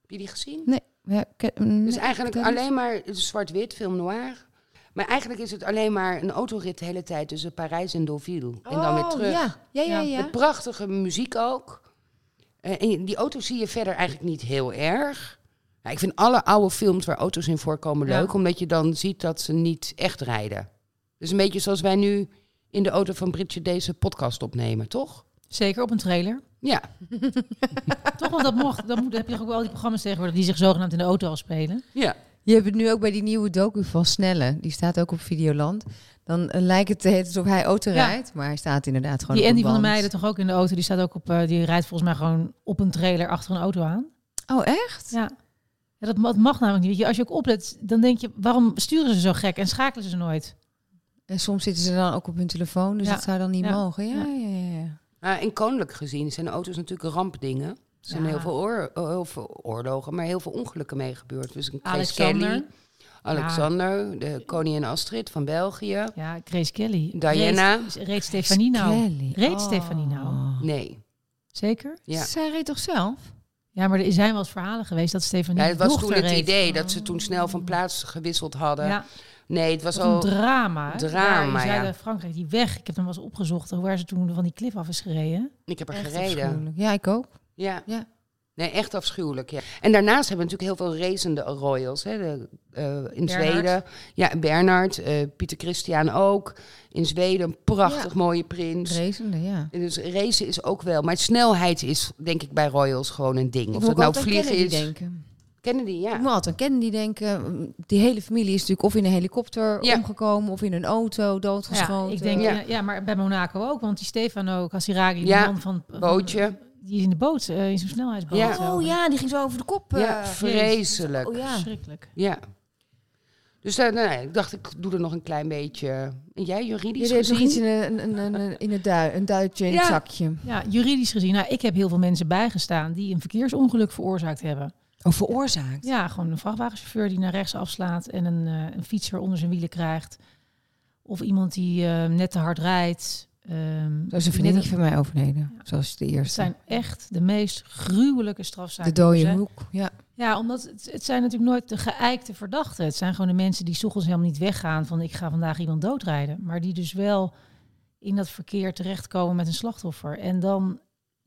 Heb je die gezien? Nee, ja, ik- mm, Dus eigenlijk vertel eens. alleen maar een zwart-wit, film noir. Maar eigenlijk is het alleen maar een autorit de hele tijd tussen Parijs en Deauville. en dan weer Oh, terug. Ja, ja, Ja. ja. ja. Met prachtige muziek ook. Eh, en die auto's zie je verder eigenlijk niet heel erg. Nou, ik vind alle oude films waar auto's in voorkomen Ja. leuk, omdat je dan ziet dat ze niet echt rijden. Dus een beetje zoals wij nu in de auto van Britje deze podcast opnemen, toch? Zeker op een trailer. Ja. Toch, want dat mocht. Dan moet, heb je ook wel die programma's tegenwoordig die zich zogenaamd in de auto afspelen. ja. Je hebt het nu ook bij die nieuwe docu van Snelle. Die staat ook op Videoland. Dan eh, lijkt het <laughs> te heten alsof hij auto Ja. rijdt. Maar hij staat inderdaad gewoon Die op Andy een van der band. Meijden toch ook in de auto. Die staat ook op, eh, die rijdt volgens mij gewoon op een trailer achter een auto aan. Oh, echt? Ja. Ja, dat, ma- dat mag namelijk niet. Weet je, als je ook oplet, dan denk je, waarom sturen ze zo gek en schakelen ze nooit? En soms zitten ze dan ook op hun telefoon. Dus Ja. dat zou dan niet Ja. mogen. Ja, Ja. ja, ja. ja. Ah, en koninklijk gezien zijn auto's natuurlijk rampdingen. Er zijn Ja. eh, heel, veel oor- heel veel oorlogen, maar heel veel ongelukken mee gebeurd. Dus een Chris Alexander. Kelly, Alexander, de koningin Astrid van België. Ja, Grace Kelly. Diana. Reed, reed Stefanie nou. Kelly. Reed Oh. Stefanie nou. Nee. Zeker? Ja. Zij reed toch zelf? Ja, maar er zijn wel eens verhalen geweest dat Stefanie Ja, het was dochter toen het reed. idee Oh. dat ze toen snel van plaats gewisseld hadden. Ja, Nee, het was dat was een al. drama. hè? Drama, Daar ja. zeiden Frankrijk die weg. Ik heb hem wel eens opgezocht waar ze toen van die klif af is gereden. Ik heb er Echt gereden. afschuwelijk. Ja, ik ook. Ja. Ja. Nee, echt afschuwelijk. Ja. En daarnaast hebben we natuurlijk heel veel racende royals. Hè. De, eh, in Bernhard. Zweden. Ja, Bernard, eh, Pieter Christian ook. In Zweden een prachtig mooie prins. Racende, ja. En Dus racen is ook wel. Maar snelheid is denk ik bij royals gewoon een ding. Of moet dat ook nou altijd aan vliegen Kennedy is. denken. Kennedy, ja. Ik moet altijd aan Kennedy denken. Die hele familie is natuurlijk of in een helikopter Ja. omgekomen... of in een auto doodgeschoten. Ja, ik denk, Ja. ja. ja, maar bij Monaco ook. Want die Stefano Casiraghi, die Ja, man van... van- Bootje. Die is in de boot, eh, in zo'n snelheidsboot. Ja. zo. Oh ja, die ging zo over de kop. Ja, eh. vreselijk. Oh ja. Verschrikkelijk. Ja. Dus daar, nou, ja, ik dacht, ik doe er nog een klein beetje. En jij Je juridisch deed nog gezien? iets in een, een, een, een, in het dui, een duitje in Ja. het zakje. Ja, juridisch gezien. Nou, ik heb heel veel mensen bijgestaan die een verkeersongeluk veroorzaakt hebben. Oh, veroorzaakt. Ja, gewoon een vrachtwagenchauffeur die naar rechts afslaat en een, eh, een fietser onder zijn wielen krijgt. Of iemand die eh, net te hard rijdt. Ehm, Zo is een die net- vriendinnetje van mij overleden. Zoals de Het eerste. zijn echt de meest gruwelijke strafzaken. de dode Dus, hè, hoek. Ja. Ja, omdat het, het zijn natuurlijk nooit de geëikte verdachten. Het zijn gewoon de mensen die 's ochtends helemaal niet weggaan van ik ga vandaag iemand doodrijden. Maar die dus wel in dat verkeer terechtkomen met een slachtoffer. En dan,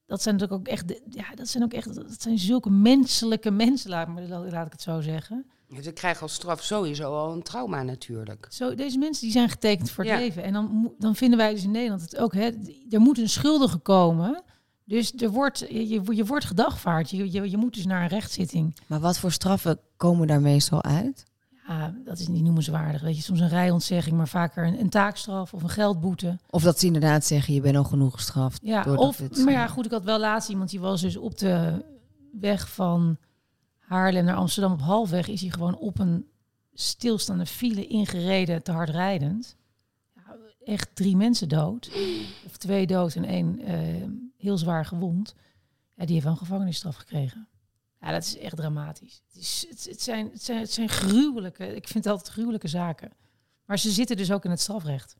dat zijn natuurlijk ook echt, de- ja, dat zijn ook echt, dat zijn zulke menselijke mensen, laat, maar- laat laat ik het zo zeggen. Ze krijgen als straf sowieso al een trauma natuurlijk. Zo, deze mensen die zijn getekend voor het Ja. leven. En dan, mo- dan vinden wij dus in Nederland het ook, hè, er moet een schuldige komen. Dus er wordt, je, je, je wordt gedagvaard. Je, je, je moet dus naar een rechtszitting. Maar wat voor straffen komen daar meestal uit? Ja, dat is niet noemenswaardig. Weet je, soms een rijontzegging, maar vaker een, een taakstraf of een geldboete. Of dat ze inderdaad zeggen, je bent al genoeg gestraft. Ja, doordat of, het- maar ja, goed, ik had wel laatst iemand die was dus op de weg van Haarlem naar Amsterdam op halfweg. Is hij gewoon op een stilstaande file ingereden, te hard rijdend. Ja, echt drie mensen dood. Of twee dood en één eh, heel zwaar gewond. Ja, die heeft wel een gevangenisstraf gekregen. Ja, dat is echt dramatisch. Het, is, het, het zijn, het, zijn, het zijn gruwelijke, ik vind het altijd gruwelijke zaken. Maar ze zitten dus ook in het strafrecht.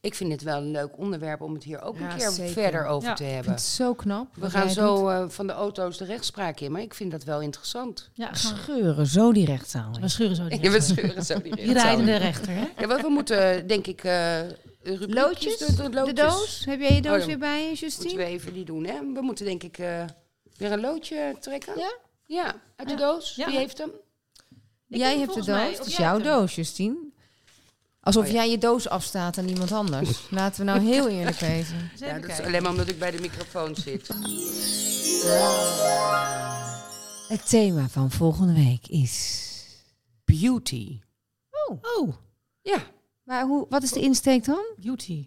Ik vind het wel een leuk onderwerp om het hier ook Ja, een keer zeker. verder over Ja. te Ik hebben. vind het zo knap. We wat gaan jij doet. zo eh, van de auto's de rechtspraak in, maar ik vind dat wel <laughs> interessant. Ja, gaan we- scheuren, zo die rechtszaal. in. we scheuren zo. die Ja, we rechter. scheuren zo die Die rechtszaal in. rijdende rechter, hè? Ja, want we moeten denk ik eh rubriekjes doen, doen, De loodjes. doos? Heb jij je doos Oh, dan weer bij je, Moeten Justine? we even die doen, hè? We moeten denk ik eh, weer een loodje trekken. Ja? Ja, uit de Ja. doos. Ja. Wie heeft hem? Ik heb jij hebt de volgens mij- doos, of het is jij jouw hebt hem. doos, Justine. Alsof Oh, ja. jij je doos afstaat aan iemand anders. Laten we nou heel eerlijk wezen. Eens Ja, even dat is kijken. alleen maar omdat ik bij de microfoon zit. Het thema van volgende week is... Beauty. Oh, Ja, Maar hoe, wat is de insteek dan? beauty. <laughs>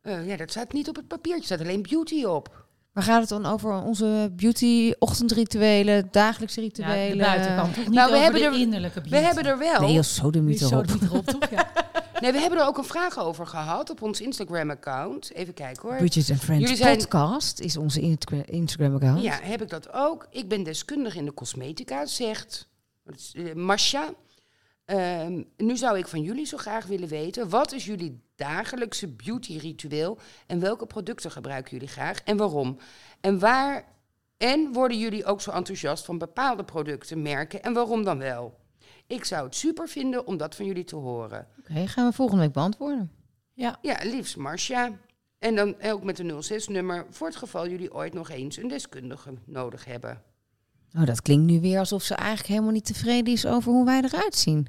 eh, ja, dat staat niet op het papiertje. Er staat alleen beauty op. Maar gaat het dan over onze beauty, ochtendrituelen, dagelijkse Ja, rituelen? de buitenkant. Toch niet Nou, we over hebben de er- innerlijke beauty. We hebben er wel. Nee, als zo de Nu is zo mythe erop. <laughs> de mythe erop, toch? Ja. Nee, we hebben er ook een vraag over gehad op ons Instagram-account. Even kijken hoor. Bridget and Friends Jullie zijn- podcast is onze Intra- Instagram-account. Ja, heb ik dat ook. Ik ben deskundige in de cosmetica, zegt dat is, eh, Masha. Ehm, nu zou ik van jullie zo graag willen weten... wat is jullie dagelijkse beauty-ritueel... en welke producten gebruiken jullie graag en waarom? En waar... En worden jullie ook zo enthousiast van bepaalde producten, merken en waarom dan wel? Ik zou het super vinden om dat van jullie te horen. Oké, gaan we volgende week beantwoorden. Ja, liefst Marcia. En dan ook met een 06-nummer voor het geval jullie ooit nog eens een deskundige nodig hebben. Nou, dat klinkt nu weer alsof ze eigenlijk helemaal niet tevreden is over hoe wij eruit zien.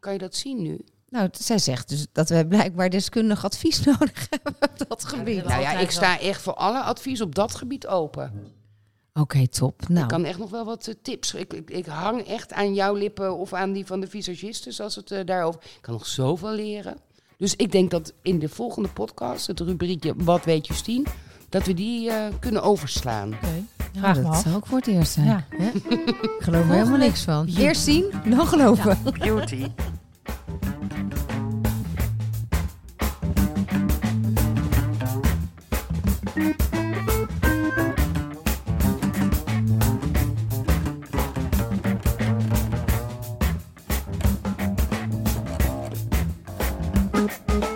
Kan je dat zien nu? Nou, t- zij zegt dus dat we blijkbaar deskundig advies <laughs> nodig hebben op dat gebied. Nou ja, altijd ik sta echt voor alle advies op dat gebied open. Oké, top. Nou, Ik kan echt nog wel wat eh, tips. Ik, ik, ik hang echt aan jouw lippen of aan die van de visagistes als het eh, daarover... Ik kan nog zoveel leren. Dus ik denk dat in de volgende podcast, het rubriekje Wat weet Justine... dat we die eh, kunnen overslaan. Oké, nou, vraag me dat af. zou ook voor het eerst zijn. Ja. Hè? Ik geloof er helemaal niks van. Eerst zien, dan geloven. Beauty. Thank you.